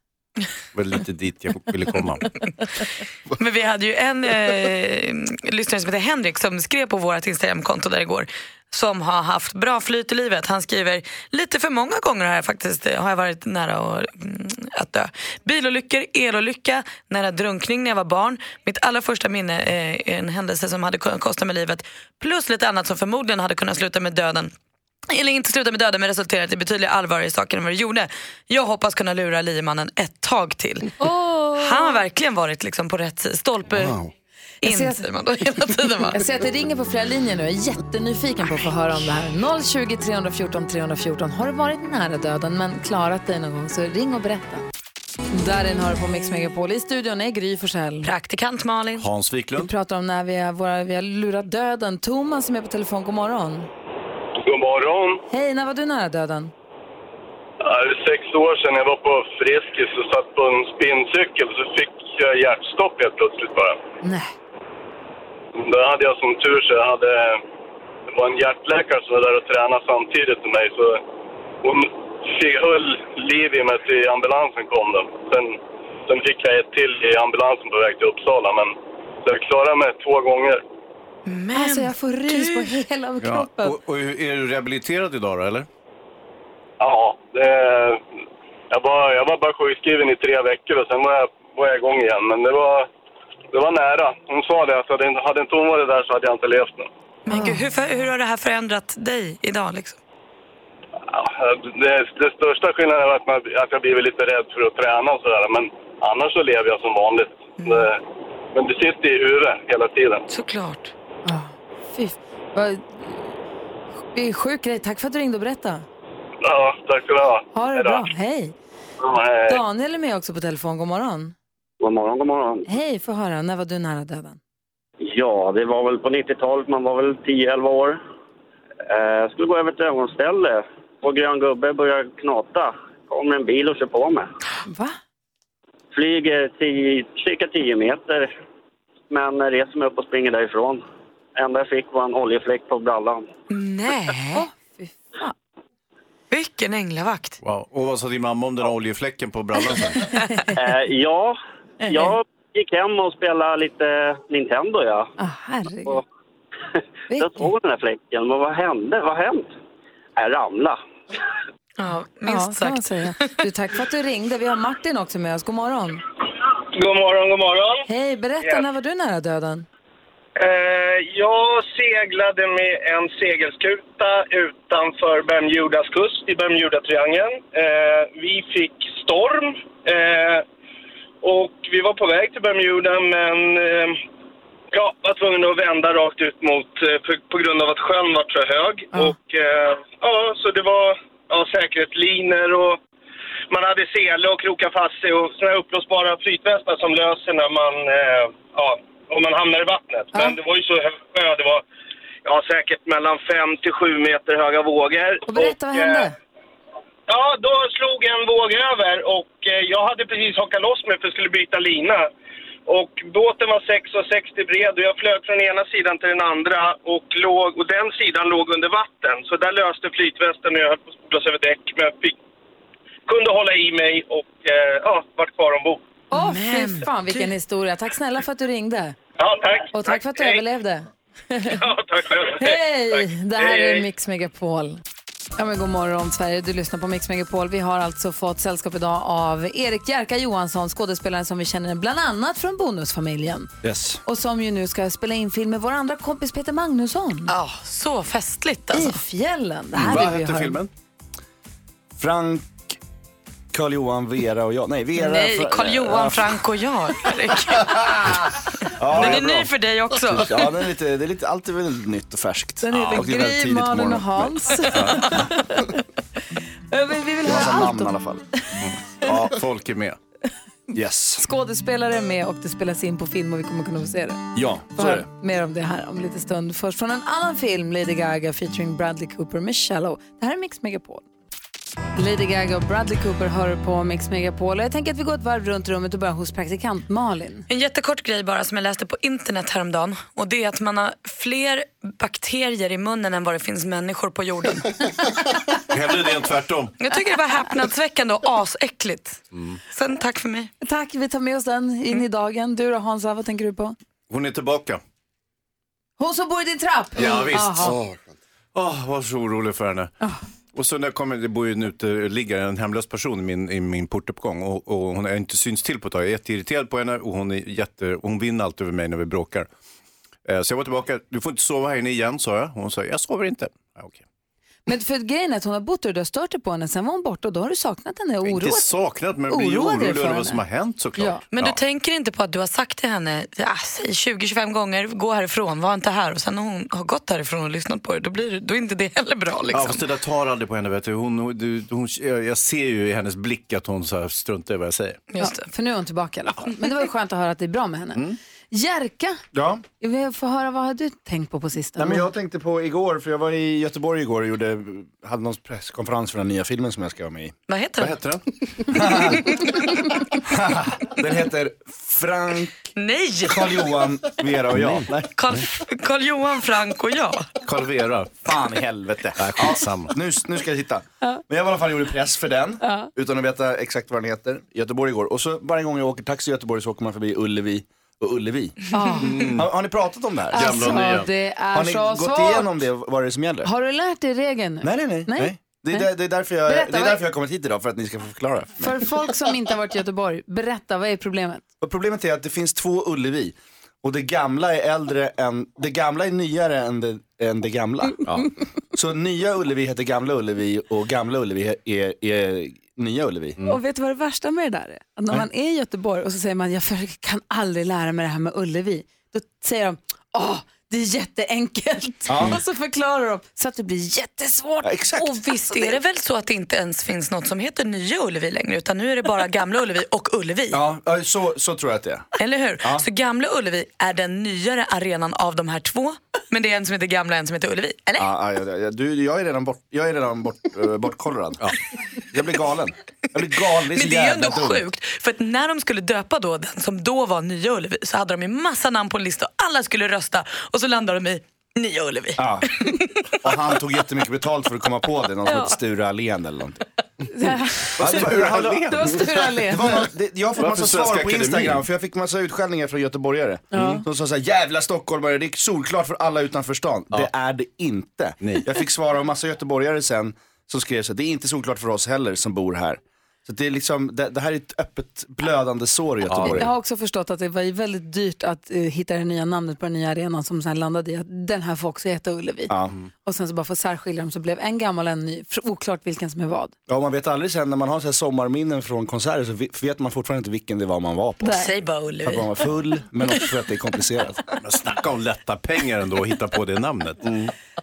S3: var lite dit jag ville komma.
S2: *laughs* Men vi hade ju en eh, lyssnare som heter Henrik som skrev på vårt Instagramkonto där igår som har haft bra flyt i livet. Han skriver, lite för många gånger har jag faktiskt eh, har jag varit nära att, mm, att dö. Bilolyckor, elolycka, nära drunkning när jag var barn. Mitt allra första minne eh, är en händelse som hade kunnat kosta mig livet. Plus lite annat som förmodligen hade kunnat sluta med döden. Eller inte sluta med döden men resulterat i betydligt allvarligare saker än vad det gjorde. Jag hoppas kunna lura liemannen ett tag till. Han har verkligen varit liksom på rätt sida. Stolpe in säger man då hela tiden va?
S1: Jag ser att det ringer på flera linjer nu. Jag är jättenyfiken på att få höra om det här. 020 314 314. Har du varit nära döden men klarat dig någon gång så ring och berätta. Darin har på Mix Megapol. I studion är Gry Forssell.
S2: Praktikant Malin.
S3: Hans
S1: Vi
S3: Wiklund.
S1: pratar om när vi har, våra, vi har lurat döden. Thomas som är på telefon, god morgon.
S14: God morgon.
S1: Hej, när var du nära döden?
S14: Ja, Det är sex år sedan jag var på Friskis och satt på en spinncykel så fick jag hjärtstopp helt plötsligt bara.
S1: Nej.
S14: Då hade jag som tur så jag hade... Det var en hjärtläkare som var där och tränade samtidigt med mig så hon fick- höll liv i mig till ambulansen kom då. Sen, sen fick jag ett till i ambulansen på väg till Uppsala men så jag klarade mig två gånger.
S1: Men alltså jag får rys på hela
S3: Ja.
S1: kroppen.
S3: Och, och är du rehabiliterad idag då, eller?
S14: Ja, det, jag, var, jag var bara sjukskriven i tre veckor och sen var jag, var jag igång igen. Men det var, det var nära. Hon sa det att hade, inte- hade inte hon varit där så hade jag inte levt nu.
S2: Men gud, hur, för, hur har det här förändrat dig idag? Liksom?
S14: Ja, Det, det största skillnaden var att, man, att jag blivit lite rädd för att träna och sådär. Men annars så lever jag som vanligt. Det, men det sitter i huvudet hela tiden.
S2: Såklart.
S1: Fy, vad... Vi är sjuk grej. Tack för att du ringde och berättade.
S14: Ja, tack ska du ha.
S1: Ha det
S14: Hej då.
S1: bra. Hej.
S14: Ja, hej, hej.
S1: Daniel är med också på telefon, god morgon.
S15: God morgon, god morgon.
S1: Hej, få höra. När var du nära döden?
S15: Ja, det var väl på 90-talet, man var väl 10-11 år. Eh, Jag skulle gå över till ett ögonställe och grön gubbe börjar knata. Kommer en bil och kör på mig.
S1: Va?
S15: Flyger 10, cirka 10 meter, men reser mig upp och springer därifrån. enda jag fick var en oljefläck på brallan.
S1: *laughs*
S2: Nej. Vilken änglavakt.
S3: Wow. Och vad sa din mamma om den här oljefläcken på brallan sen?
S15: Eh, ja,
S1: Eh.
S15: jag gick hem och spelade lite Nintendo, ja.
S1: Herregud.
S15: Jag såg den här fläcken, men vad hände? Vad hänt? Äh, Jag ramlade.
S2: Ja,
S1: minst ja, sagt. Säga. Du, tack för att du ringde. Vi har Martin också med oss. God morgon.
S16: God morgon, god morgon.
S1: Hej, berätta.
S16: Yes.
S1: När var du nära döden?
S16: Eh, jag seglade med en segelskuta utanför Bermudas kust i Bermudatriangeln. Eh, vi fick storm eh, och vi var på väg till Bermuda men eh, ja, var tvungna att vända rakt ut mot eh, på, på grund av att sjön var för hög.
S14: Mm.
S16: Och eh, ja, så det var ja, säkerhetslinor och man hade sele och krokar fast sig och såna här uppblåsbara flytvästar som löser när man, eh, ja, om man hamnar i vattnet. Men det var ju så hög sjö, det var ja, säkert mellan 5 till 7 meter höga vågor. Och
S1: berätta, vad hände?
S8: eh,
S16: Ja, då slog en våg över och eh, jag hade precis hockat loss mig för att skulle byta lina. Och båten var 6,60 bred och jag flög från ena sidan till den andra och, låg, och den sidan låg under vatten. Så där löste flytvästen och jag höll på att blåsa över däck men jag fick, kunde hålla i mig och eh, ja, vart kvar ombord.
S1: Åh, fy fan vilken historia. Tack snälla för att du ringde.
S16: Ja, tack.
S1: Och tack för att du
S16: Hej.
S1: överlevde.
S16: *laughs* Ja, tack själv.
S1: Hej! Det här
S16: Hej,
S1: är
S16: hej.
S1: Mix Megapol. Ja, men god morgon Sverige, du lyssnar på Mix Megapol. Vi har alltså fått sällskap idag av Erik Jerka Johansson, skådespelaren som vi känner bland annat från Bonusfamiljen.
S12: Yes.
S1: Och som ju nu ska spela in film med vår andra kompis Peter Magnusson.
S2: Ja, så festligt alltså.
S1: I fjällen. Det här
S12: Mm. Vad
S1: vill vi
S12: hette
S1: höra.
S12: filmen? Frank, Carl Johan, Vera och jag. Nej, Vera.
S2: Nej,
S12: Fra-
S2: Carl
S12: ja,
S2: Johan, Frank och jag, Erik.
S12: Ja,
S2: Den
S12: ja,
S2: är
S12: bra.
S2: ny för dig också.
S12: Precis, Ja, den är lite, det är lite, allt är väldigt nytt och färskt.
S1: Den heter
S12: och det är väldigt
S1: Gry,
S12: tidigt på
S1: Malin och
S12: morgonen.
S1: Hans. *laughs* vi, vi vill
S12: Det är massa
S1: höra allt
S12: namn i
S1: om
S12: alla fall. Ja,
S3: folk är med.
S12: Yes.
S1: skådespelare är med och det spelas in på film och vi kommer kunna få se det.
S12: Ja, så
S1: Får
S12: är
S1: höra
S12: det.
S1: Mer om det här om lite stund. Först från en annan film, Lady Gaga featuring Bradley Cooper med Shallow. Det här är Mix Megapol. Lady Gaga och Bradley Cooper hör på Mix Megapol. Och Jag tänker att vi går ett varv runt rummet och börjar hos praktikant Malin.
S2: *laughs* En jättekort grej bara som jag läste på internet häromdagen och det är att man har fler bakterier i munnen än vad det finns människor på jorden.
S3: hävdar det är tvärtom. Mm.
S2: Jag tycker det var häpnadsväckande och asäckligt. Sen tack för mig.
S1: Tack, vi tar med oss den in i dagen. Du då Hansa, vad tänker du på?
S3: Hon är tillbaka.
S1: Hon som bor i din trapp?
S3: Ja, visst.
S1: Mm. Aha. Ah.
S3: Åh, var så orolig för henne. Och så när jag kommer, det bor ju en uteliggare, en hemlös person i min, i min portuppgång och, och hon har inte synts till på ett tag. Jag är jätteirriterad på henne och hon, är jätte, och hon vinner allt över mig när vi bråkar. Eh, Så jag var tillbaka, du får inte sova här inne igen sa jag. Hon sa, jag sover inte. Ja, okej.
S1: Men för grejen är att hon har bott där och du har stört dig på henne, sen var hon borta och då har du saknat henne och oroat
S3: Inte saknat men
S1: Oroa
S3: blir
S1: dig
S3: orolig
S1: för
S3: över
S1: henne.
S3: vad som har hänt såklart.
S1: Ja.
S2: Men du
S3: Ja.
S2: tänker inte på att du har sagt till henne ja, säg 20-25 gånger, gå härifrån, var inte här. Och sen när hon har gått härifrån och lyssnat på det, då, blir, det- då är inte det heller bra. Liksom.
S3: Ja, fast det där tar aldrig på henne. Vet du. Hon, hon- du, hon, jag jag ser ju i hennes blick att hon så här struntar i vad jag säger.
S1: Ja, för nu är hon tillbaka i alla fall. Men det var ju skönt att höra att det är bra med henne.
S3: Mm.
S1: Jerka,
S12: Ja.
S1: jag vill få höra vad har du tänkt på på sistone?
S12: Nej, men jag tänkte på igår, för jag var i Göteborg igår och gjorde, hade någon presskonferens för den nya filmen som jag ska vara med i.
S2: Vad heter
S12: Vad
S2: *laughs*
S12: heter den? den heter Frank,
S2: Nej!
S12: Carl Johan, Vera och jag. Nej.
S2: Carl Johan, Frank och jag.
S3: Carl Vera.
S12: Fan i helvete. Ja,
S3: skitsamma.
S12: nu, nu ska jag hitta. Men jag i alla fall gjorde press för den,
S2: Ja.
S12: utan att veta exakt vad den heter, i Göteborg igår. Och så varje gång jag åker taxi i Göteborg så åker man förbi Ullevi och Ullevi. Mm.
S1: Ja.
S12: Har, har ni pratat om det här?
S1: Alltså, Gamla och nya. det är
S12: har ni
S1: så
S12: gått
S1: svårt.
S12: igenom det, vad det är som gäller?
S1: Har du lärt dig regeln nu?
S12: Nej, nej, nej.
S1: nej.
S12: Det, är
S1: Nej.
S12: där, det, är därför jag,
S1: Berätta,
S12: det är
S1: vad-
S12: därför jag har kommit hit idag, för att ni ska få förklara. för mig.
S1: För folk som inte har varit i Göteborg, berätta, vad är problemet?
S12: Och problemet är att det finns två Ullevi. Och det gamla är äldre än, det gamla är nyare än det, än det gamla. Så nya Ullevi heter gamla Ullevi och gamla Ullevi är, är nya Ullevi.
S1: Och vet du vad det värsta med det där är? Att när man är i Göteborg och så säger man jag för- kan aldrig lära mig det här med Ullevi. Då säger de, åh, det är jätteenkelt.
S2: Ja.
S1: *laughs* Och så förklarar de så att det blir jättesvårt.
S2: Och visst
S12: Alltså,
S2: är det väl så att det inte ens finns något som heter Nya Ullevi längre, utan nu är det bara Gamla Ullevi och Ullevi.
S12: Ja, ja, så, så tror jag att det är.
S2: Eller hur?
S12: Ja.
S2: Så Gamla Ullevi är den nyare arenan av de här två, men det är en som heter Gamla och en som heter Ullevi. Eller?
S12: Ja, ja, ja, ja, du, jag är redan, bort, jag är redan bort, eh, bortkollrad. Jag blir galen. Jag blir galen. så
S2: Men det är ju
S12: jävla
S2: ändå
S12: dumt.
S2: sjukt, för att när de skulle döpa då den som då var Nya Ullevi så hade de ju massa namn på en lista och alla skulle rösta och så landade de i Nya Ullevi. *laughs*
S12: Ja. Och han tog jättemycket betalt för att komma på det. Någon som
S2: Ja.
S12: hette Sture Allén eller
S1: *laughs*
S12: någonting.
S1: Sture Allén. Det var Sture Allén.
S12: Det var någon- det- Jag har fått
S1: Varför
S12: massa
S1: Svenska
S12: svar på
S1: Akademin?
S12: Instagram för jag fick massa utskällningar från göteborgare. Mm.
S1: Ja.
S12: De sa såhär, jävla stockholmare, det är solklart för alla utanför stan. Det är det inte. Jag fick svar av massa göteborgare sen som skrev så här, det är inte solklart för oss heller som bor här. Så det, är liksom, det, det här är ett öppet blödande sår i Göteborg.
S1: Jag har också förstått att det var ju väldigt dyrt att eh, hitta det nya namnet på den nya arenan som sen landade i att den här får också heta Ullevi.
S12: Ja.
S1: Och sen så bara för att särskilja dem så blev en gammal och en ny, för oklart vilken som är vad.
S12: Ja, man vet aldrig sen när man har så här sommarminnen från konserter så vi- vet man fortfarande inte vilken det var man var på.
S1: Nej.
S2: Säg bara
S12: För att man var full, men också för att det är komplicerat.
S3: Men snacka om lätta pengar ändå att hitta på det namnet.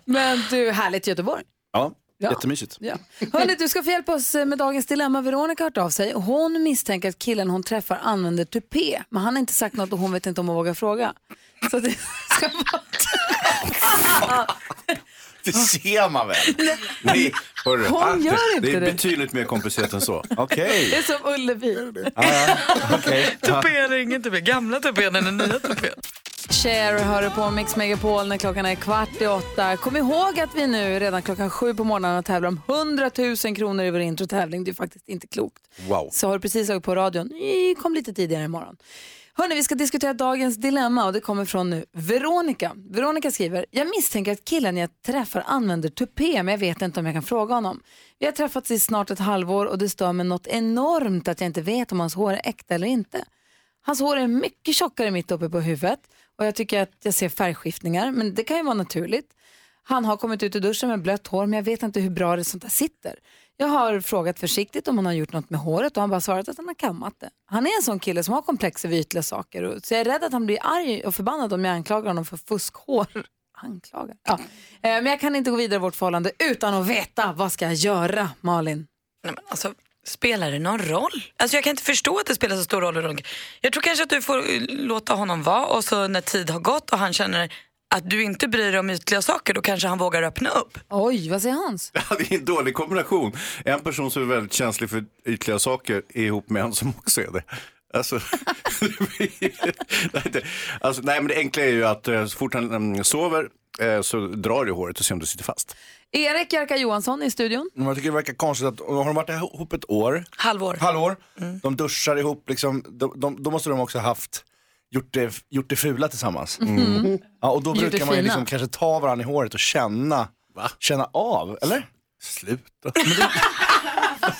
S1: Men du, härligt Göteborg.
S12: Ja,
S1: Ja.
S12: jättemysigt.
S1: Ja. Hörni, du ska få hjälpa oss eh, med dagens dilemma. Veronica har hört av sig. Hon misstänker att killen hon träffar använder tupé, men han har inte sagt något och hon vet inte om hon vågar fråga. Så det ska vara...
S12: Det ser man väl?
S3: Nej, hörru.
S1: Hon
S3: Ah,
S1: gör inte
S3: det.
S1: det.
S3: är betydligt mer komplicerat än så.
S12: Okej.
S1: Det är som Ullevi.
S2: Tupé eller ingen tupé? Gamla tupén eller nya tupén?
S1: Cher hör du på Mix Megapol när klockan är kvart i åtta. Kom ihåg att vi nu redan klockan sju på morgonen tävlar om 100 000 kronor i vår introtävling. Det är faktiskt inte klokt.
S3: Wow.
S1: Så har du precis sagt på radion, "Ni kom lite tidigare imorgon. Hörni, vi ska diskutera dagens dilemma och det kommer från nu Veronica. Veronica skriver, jag misstänker att killen jag träffar använder tupé men jag vet inte om jag kan fråga honom. Vi har träffats i snart ett halvår och det stör mig något enormt att jag inte vet om hans hår är äkta eller inte. Hans hår är mycket tjockare mitt uppe på huvudet och jag tycker att jag ser färgskiftningar men det kan ju vara naturligt. Han har kommit ut ur duschen med blött hår men jag vet inte hur bra det sånt där sitter. Jag har frågat försiktigt om han har gjort något med håret och han bara svarat att han har kammat det. Han är en sån kille som har komplex över ytliga saker och, så jag är rädd att han blir arg och förbannad om jag anklagar honom för fuskhår. *laughs* Anklagar? Ja. Eh, Men jag kan inte gå vidare i vårt förhållande utan att veta vad ska jag göra, Malin?
S2: Nej, men alltså, spelar det någon roll? Alltså, jag kan inte förstå att det spelar så stor roll. Veronica. Jag tror kanske att du får eh, låta honom vara och så när tid har gått och han känner att du inte bryr dig om ytliga saker, då kanske han vågar öppna upp.
S1: Oj, vad säger Hans?
S3: Ja, det är en dålig kombination. En person som är väldigt känslig för ytliga saker är ihop med en som också är det. Alltså, *laughs* det blir- nej, det- alltså, nej, men det enkla är ju att eh, så fort han mm, sover eh, så drar du i håret och ser om du sitter fast.
S1: Erik Jerka Johansson i studion.
S12: Men Jag tycker det verkar konstigt att, har de varit ihop ett år?
S2: Halvår. Mm.
S12: Halvår. De duschar ihop, liksom, de, de, då måste de också ha haft Gjort det, gjort det fula tillsammans.
S2: Mm.
S1: Mhm.
S12: Ja, och då
S1: Gjort det
S12: brukar man ju
S1: fina.
S12: liksom kanske ta varandra i håret och känna, känna av, eller? *laughs*
S3: Sluta.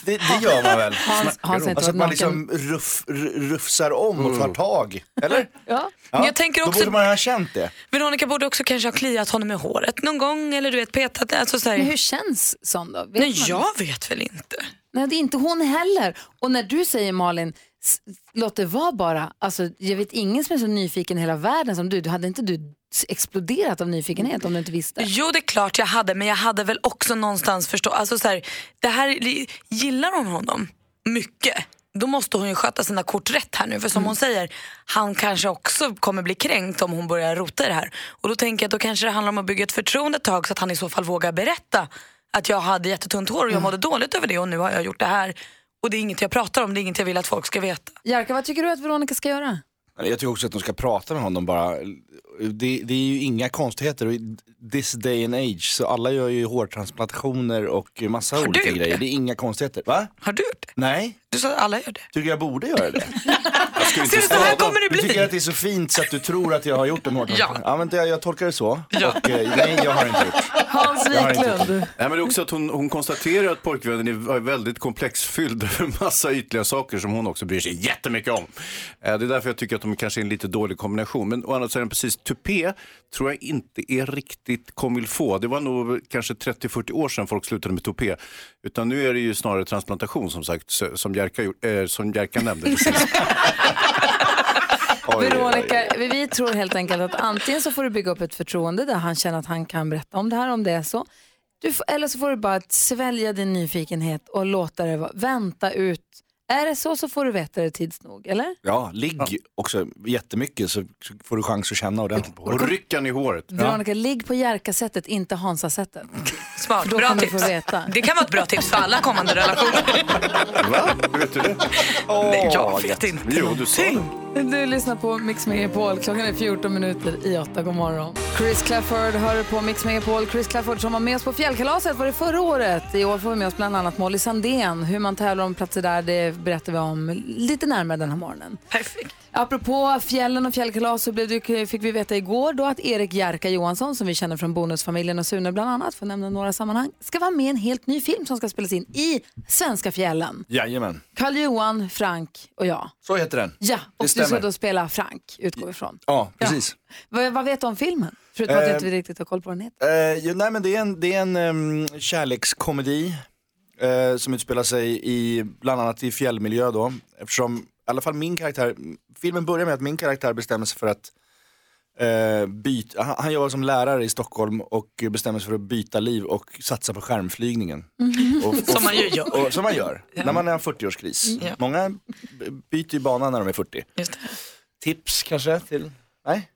S12: Det, det gör man väl?
S1: Hans- Hans har inte
S12: alltså att
S1: varit
S12: man
S1: naken.
S12: liksom ruff, r- rufsar om och tar tag, eller?
S1: Ja.
S2: Men jag tänker
S12: Då
S2: också-
S12: borde man ha känt det.
S2: Veronica borde också kanske ha kliat honom i håret någon gång eller du vet petat. Alltså, så här.
S1: Men hur känns sån då? Vet
S2: Nej,
S1: man?
S2: jag vet väl inte.
S1: Nej, det är inte hon heller. Och när du säger Malin, s- låt det vara bara. Alltså, jag vet ingen som är så nyfiken i hela världen som du. du hade inte du s- exploderat av nyfikenhet om du inte visste?
S2: Jo, det är klart jag hade, men jag hade väl också någonstans förstå. Alltså så här, det här gillar hon honom mycket. Då måste hon ju sköta sina kort rätt här nu. För
S1: Mm.
S2: som hon säger, han kanske också kommer bli kränkt om hon börjar rota i det här. Och då tänker jag att då kanske det handlar om att bygga ett förtroende ett tag så att han i så fall vågar berätta att jag hade jättetunt hår och
S1: Mm.
S2: jag mådde dåligt över det och nu har jag gjort det här. Och det är inget jag pratar om, det är inget jag vill att folk ska veta.
S1: Jerka, vad tycker du att Veronica ska göra?
S12: Nej, Jag tycker också att de ska prata med honom bara. Det, det är ju inga konstigheter. Och i This day and age, så alla gör ju hårtransplantationer och massa
S2: du
S12: olika
S2: gjort
S12: grejer.
S2: det?
S12: Det? är inga konstigheter. Va?
S2: Har du gjort
S12: det? Nej.
S2: Du sa att alla gör det.
S12: Tycker jag borde göra
S2: *laughs*
S12: det? Jag skulle
S2: Ser du, så här
S12: säga-
S2: kommer det bli.
S12: Du tycker att det är så fint så att du tror att jag har gjort en hårtransplantation? Ja. men det, jag tolkar det så. Och, eh, nej, jag har inte gjort.
S1: Hans
S12: Jag har inte gjort.
S1: Wiklund.
S3: Nej, men det är också att hon, hon konstaterar att pojkvännen är väldigt komplexfylld *laughs* över massa ytliga saker som hon också bryr sig jättemycket om. Eh, Det är därför jag tycker att de kanske är en lite dålig kombination. Men å andra sidan, precis, tupé tror jag inte är riktigt comme il faut. Det var nog kanske 30-40 år sedan folk slutade med tupé. Utan nu är det ju snarare transplantation som sagt, s- som Jerka, gjort- eh, som Jerka nämnde
S2: *laughs*
S3: precis. Oj, oj, oj.
S1: Veronica, vi- vi tror helt enkelt att antingen så får du bygga upp ett förtroende där han känner att han kan berätta om det här om det är så. Du får, eller så får du bara svälja din nyfikenhet och låta det vara, vänta ut. Är det så så får du veta det tids nog, eller?
S12: Ja, ligg också jättemycket så så får du chans att känna ordentligt på håret.
S3: Och ryckan i håret.
S1: Veronica, ligg på Jerka-sättet, inte Hansa-sättet.
S2: *laughs* Smart,
S1: För då
S2: bra
S1: kommer du
S2: tips.
S1: få veta.
S2: Det kan vara ett bra tips för
S1: *laughs*
S2: alla kommande relationer.
S3: Va? Vet du det?
S2: Nej, jag vet inte.
S3: Jo, du sa det.
S1: Du lyssnar på Mix Megapol. Klockan är 14 minuter i 8. God morgon. Chris Clafford hör på Mix Megapol. Chris Clafford som var med oss på fjällkalaset var det förra året. I år får vi med oss bland annat Molly Sandén. Hur man tävlar om platser där det berättar vi om lite närmare den här morgonen.
S2: Perfekt.
S1: Apropå fjällen och fjällkalas så blev det, fick vi veta igår då att Erik Jerka Johansson som vi känner från Bonusfamiljen och Sune bland annat, för att nämna några sammanhang, ska vara med i en helt ny film som ska spelas in i svenska fjällen.
S12: Jajamän.
S1: Karl-Johan, Frank och jag.
S12: Så heter den.
S1: Ja, och du ska
S12: stämmer.
S1: då spela Frank, utgår vi ifrån.
S12: Ja, precis.
S1: Vad, vad vet du om filmen? Förutom att du
S12: Eh,
S1: inte riktigt har koll på vad den heter.
S12: Eh, jo, nej men det är en, det är en ehm, kärlekskomedi eh, som utspelar sig i, bland annat i fjällmiljö då. Eftersom, i alla fall min karaktär, filmen börjar med att min karaktär bestämmer sig för att eh, byta, han, han jobbar som lärare i Stockholm och bestämmer sig för att byta liv och satsa på skärmflygningen.
S2: Som man ju gör. Mm,
S12: Och, som man gör, när man är i en 40-årskris.
S2: Ja.
S12: Många b- byter ju bana när de är 40. Tips kanske till, nej?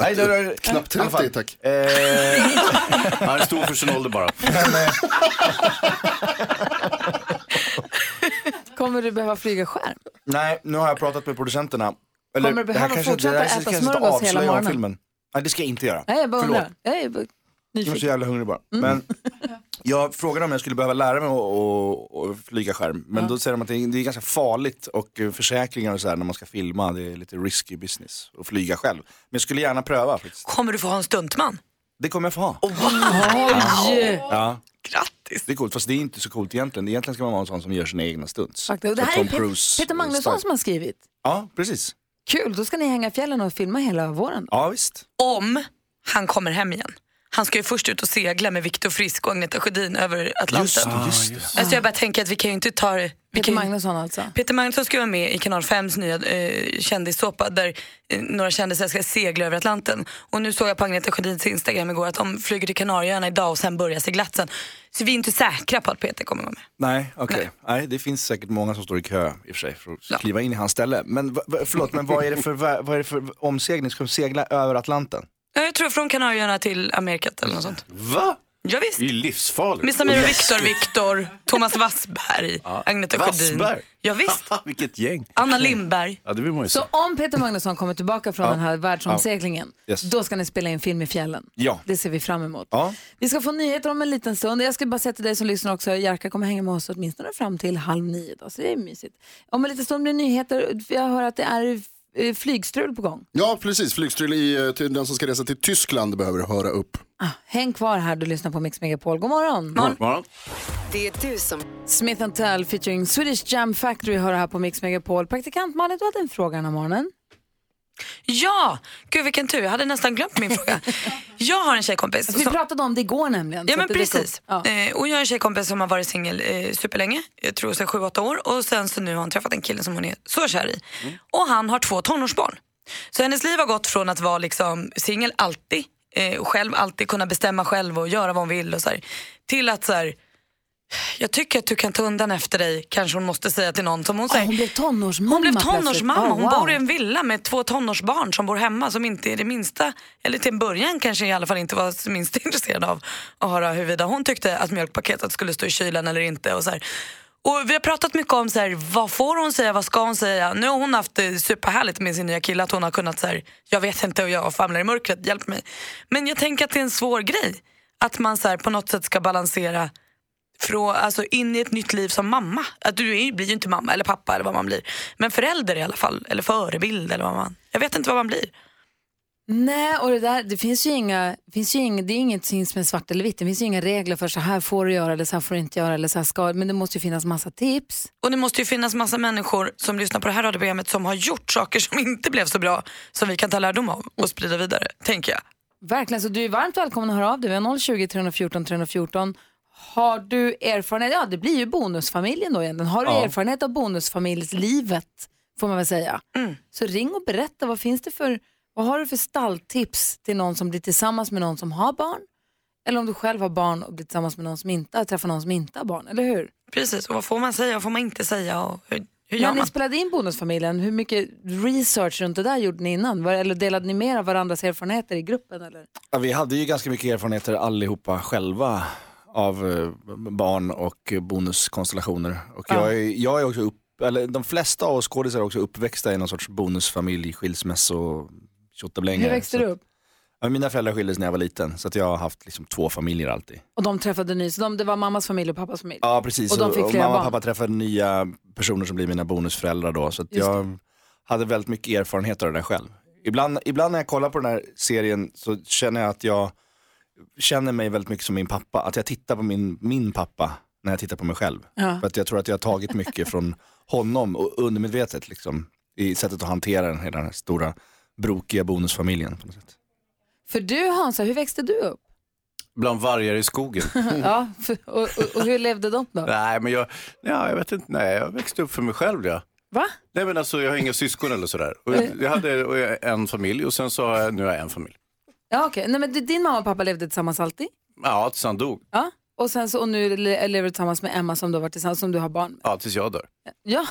S12: Nej, det var-
S8: Knappt
S12: i alla fall.
S8: 30 tack.
S12: Eh,
S3: Han är stor för sin ålder bara.
S1: Kommer du behöva flyga skärm?
S12: Nej, nu har jag pratat med producenterna.
S1: Kommer du behöva fortsätta
S12: det här
S1: äta
S12: kanske inte
S1: smörgås hela
S12: avslöjar om
S1: morgonen?
S12: filmen. Nej, det ska jag inte göra.
S1: Nej, jag bara
S12: Förlåt,
S1: undrar. Jag är bara
S12: jag är så
S1: nyfiken. Mm.
S12: jävla hungrig bara.
S1: *laughs*
S12: Men jag frågade om jag skulle behöva lära mig att att- att flyga skärm. Men
S1: Ja.
S12: då säger de att det är, det är ganska farligt och eh, försäkringar och så här när man ska filma, det är lite risky business att flyga själv. Men jag skulle gärna pröva faktiskt.
S2: Kommer du få ha en stuntman?
S12: Det kommer jag få ha.
S1: Oj!
S12: Ja. Grattis! Det är coolt, fast det är inte så coolt egentligen. Egentligen ska man vara en sån som gör sina egna stunts.
S1: Faktiskt. Och det
S12: Så
S1: här är
S12: Tom Cruise
S1: Peter, Peter Magnusson
S12: style.
S1: som har skrivit.
S12: Ja, precis.
S1: Kul, då ska ni hänga i fjällen och filma hela våren.
S12: Ja, visst.
S2: Om han kommer hem igen. Han ska ju först ut och segla med Viktor Frisk och Agneta Sjödin över Atlanten.
S12: just det.
S2: Alltså jag bara tänker att vi kan ju inte ta... Vi
S1: Peter
S2: kan ju...
S1: Magnusson alltså.
S2: Peter Magnusson ska vara med i Kanal 5s nya eh, kändissåpa där eh, några kändisar ska segla över Atlanten. Och nu såg jag på Agneta Sjödins Instagram igår att de flyger till Kanarieöarna idag och sen börjar seglatsen. Så vi är inte säkra på att Peter kommer vara med.
S12: Nej, okej. Nej, det finns säkert många som står i kö i och för sig för att kliva in i hans ställe. Men va, va, förlåt, men vad är, det för, vä- vad är det för omsegling? Ska de segla över Atlanten?
S2: Ja, Jag tror från Kanarieöarna till Amerikat eller något sånt.
S3: Va?
S2: Ja, visst.
S3: Det är ju livsfarligt.
S2: Med Samir och Viktor, Viktor, Thomas Wassberg, Agneta Sjödin.
S3: Wassberg?
S2: Ja, visst.
S3: *laughs* Vilket gäng.
S2: Anna Lindberg.
S3: Ja, det vill man ju
S1: Så
S3: se.
S1: om Peter Magnusson kommer tillbaka från
S3: Ja.
S1: den här världsomseglingen,
S3: Ja. Yes.
S1: då ska ni spela in film i fjällen.
S3: Ja.
S1: Det ser vi fram emot.
S12: Ja.
S1: Vi ska få nyheter om en liten stund. Jag ska bara säga till dig som lyssnar också, Jerka kommer hänga med oss åtminstone fram till halv nio. Då, så det är mysigt. Om en liten stund blir det nyheter. Jag hör att det är eh, flygstrul på gång.
S8: Ja, precis. Flygstrul i, eh, till den som ska resa till Tyskland behöver höra upp.
S1: Häng kvar här, du lyssnar på Mix Megapol. God morgon!
S9: Det är du som...
S1: Smith Tell featuring Swedish Jam Factory hör här på Mix Megapol. Praktikant Malin, du hade en fråga den här morgonen.
S2: Ja, gud vilken tur. Jag hade nästan glömt min fråga. Jag har en tjejkompis.
S1: Alltså, Vi pratade om det igår nämligen.
S2: Ja
S1: så
S2: men
S1: att det dök
S2: precis.
S1: upp. Ja.
S2: Eh, och jag har en tjejkompis som har varit singel eh, superlänge, jag tror sedan 7-8 år och sen så nu har hon träffat en kille som hon är så kär i.
S1: Mm.
S2: Och han har två tonårsbarn. Så hennes liv har gått från att vara liksom singel alltid, eh, själv alltid kunna bestämma själv och göra vad hon vill och så här, till att så här, jag tycker att du kan ta undan efter dig, kanske hon måste säga till någon som hon säger.
S1: Hon blev tonårsmamma
S2: Hon blev
S1: plötsligt.
S2: tonårsmamma.
S1: Ja,
S2: Hon
S1: wow.
S2: bor i en villa med två tonårsbarn som bor hemma som inte är det minsta, eller till en början kanske i alla fall inte var det minsta *laughs* intresserad av att höra huruvida hon tyckte att mjölkpaketet skulle stå i kylen eller inte. Och så här. Och vi har pratat mycket om så här, vad får hon säga, vad ska hon säga? Nu har hon haft det superhärligt med sin nya kille att hon har kunnat så här, jag vet inte och jag famlar i mörkret, hjälp mig. Men jag tänker att det är en svår grej. Att man så här, på något sätt ska balansera från, alltså in i ett nytt liv som mamma. Att du är, blir ju inte mamma eller pappa eller vad man blir. Men förälder i alla fall, eller förebild eller vad man... Jag vet inte vad man blir.
S1: Nej, och det där, det finns ju inga, finns ju inga, det är ingenting som är svart eller vitt. Det finns ju inga regler för så här får du göra eller så här får du inte göra eller så här ska Men det måste ju finnas massa tips.
S2: Och det måste ju finnas massa människor som lyssnar på det här radioprogrammet som har gjort saker som inte blev så bra som vi kan ta lärdom av och sprida vidare, tänker jag.
S1: Verkligen, så du är varmt välkommen att höra av dig. Vi har 020 314 314. Har du erfarenhet, ja det blir ju bonusfamiljen då egentligen. Har du
S2: Ja.
S1: erfarenhet av bonusfamiljslivet får man väl säga. Så ring och berätta, vad finns det för, vad har du för stalltips till någon som blir tillsammans med någon som har barn? Eller om du själv har barn och blir tillsammans med någon som inte har, träffar någon som inte har barn, eller hur?
S2: Precis, och vad får man säga och vad får man inte säga och hur, hur gör
S1: När ni
S2: man?
S1: spelade in Bonusfamiljen, hur mycket research runt det där gjorde ni innan? Var, eller delade ni mer av varandras erfarenheter i gruppen? Eller?
S12: Ja, vi hade ju ganska mycket erfarenheter allihopa själva av eh, barn och eh, bonuskonstellationer. Och jag, är, jag är också upp, eller de flesta av oss skådisar är också uppväxta i någon sorts bonusfamilj, skilsmässo,
S1: Hur
S12: tjottablänge.
S1: växte
S12: Så
S1: du
S12: att-
S1: upp?
S12: Ja, mina föräldrar skildes när jag var liten, så att jag har haft liksom två familjer alltid.
S1: Och de träffade ny, så de, det var mammas familj och pappas familj?
S12: Ja, precis.
S1: Och de fick flera
S12: mamma och
S1: barn?
S12: pappa träffade nya personer som blir mina bonusföräldrar då. Så att
S1: Just
S12: jag hade väldigt mycket erfarenhet av det där själv. Ibland, ibland när jag kollar på den här serien så känner jag att jag känner mig väldigt mycket som min pappa. Att jag tittar på min, min pappa när jag tittar på mig själv.
S1: Ja.
S12: För att jag tror att jag har tagit mycket från honom och undermedvetet liksom, i sättet att hantera den, hela den här stora brokiga bonusfamiljen. På något sätt.
S1: För du Hansa, hur växte
S3: *laughs*
S1: du upp?
S3: Bland vargar i skogen.
S1: ja, för, och, och, och hur levde de då?
S3: Nej, men jag, ja, jag vet inte. Nej, jag växte upp för mig själv. Ja.
S1: Va?
S3: Nej, men alltså, jag har inga syskon eller sådär. Och jag, jag hade och jag, en familj och sen så har jag, nu har jag en familj.
S1: Ja, okej. Nej, men din mamma och pappa levde tillsammans alltid?
S3: Ja, tills han dog.
S1: Ja. Och, sen så, och nu le- lever du tillsammans med Emma som du, har varit tillsammans, som du har barn med?
S3: Ja, tills jag dör.
S1: Ja.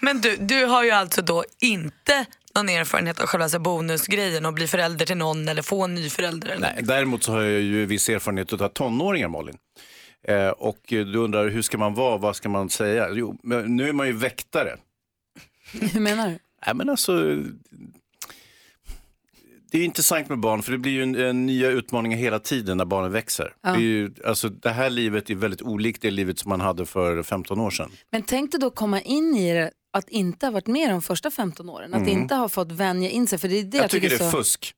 S2: Men du, du har ju alltså då inte någon erfarenhet av själva så här bonusgrejen och bli förälder till någon eller få en ny förälder. Eller?
S3: Nej, däremot så har jag ju viss erfarenhet av tonåringar, Malin. Eh, och eh, du undrar, hur ska man vara? Vad ska man säga? Jo, men nu är man ju väktare.
S1: *laughs* Hur menar du?
S3: Nej, men alltså, det är ju intressant med barn, för det blir ju en, en nya utmaningar hela tiden när barnen växer.
S1: Ja.
S3: Det, är ju, alltså, det här livet är väldigt olikt det livet som man hade för 15 år sedan.
S1: Men tänk dig då komma in i det att inte ha varit med de första 15 åren, att
S3: Mm.
S1: inte ha fått vänja in sig. För det är det jag,
S3: Jag tycker det är
S1: så...
S3: fusk.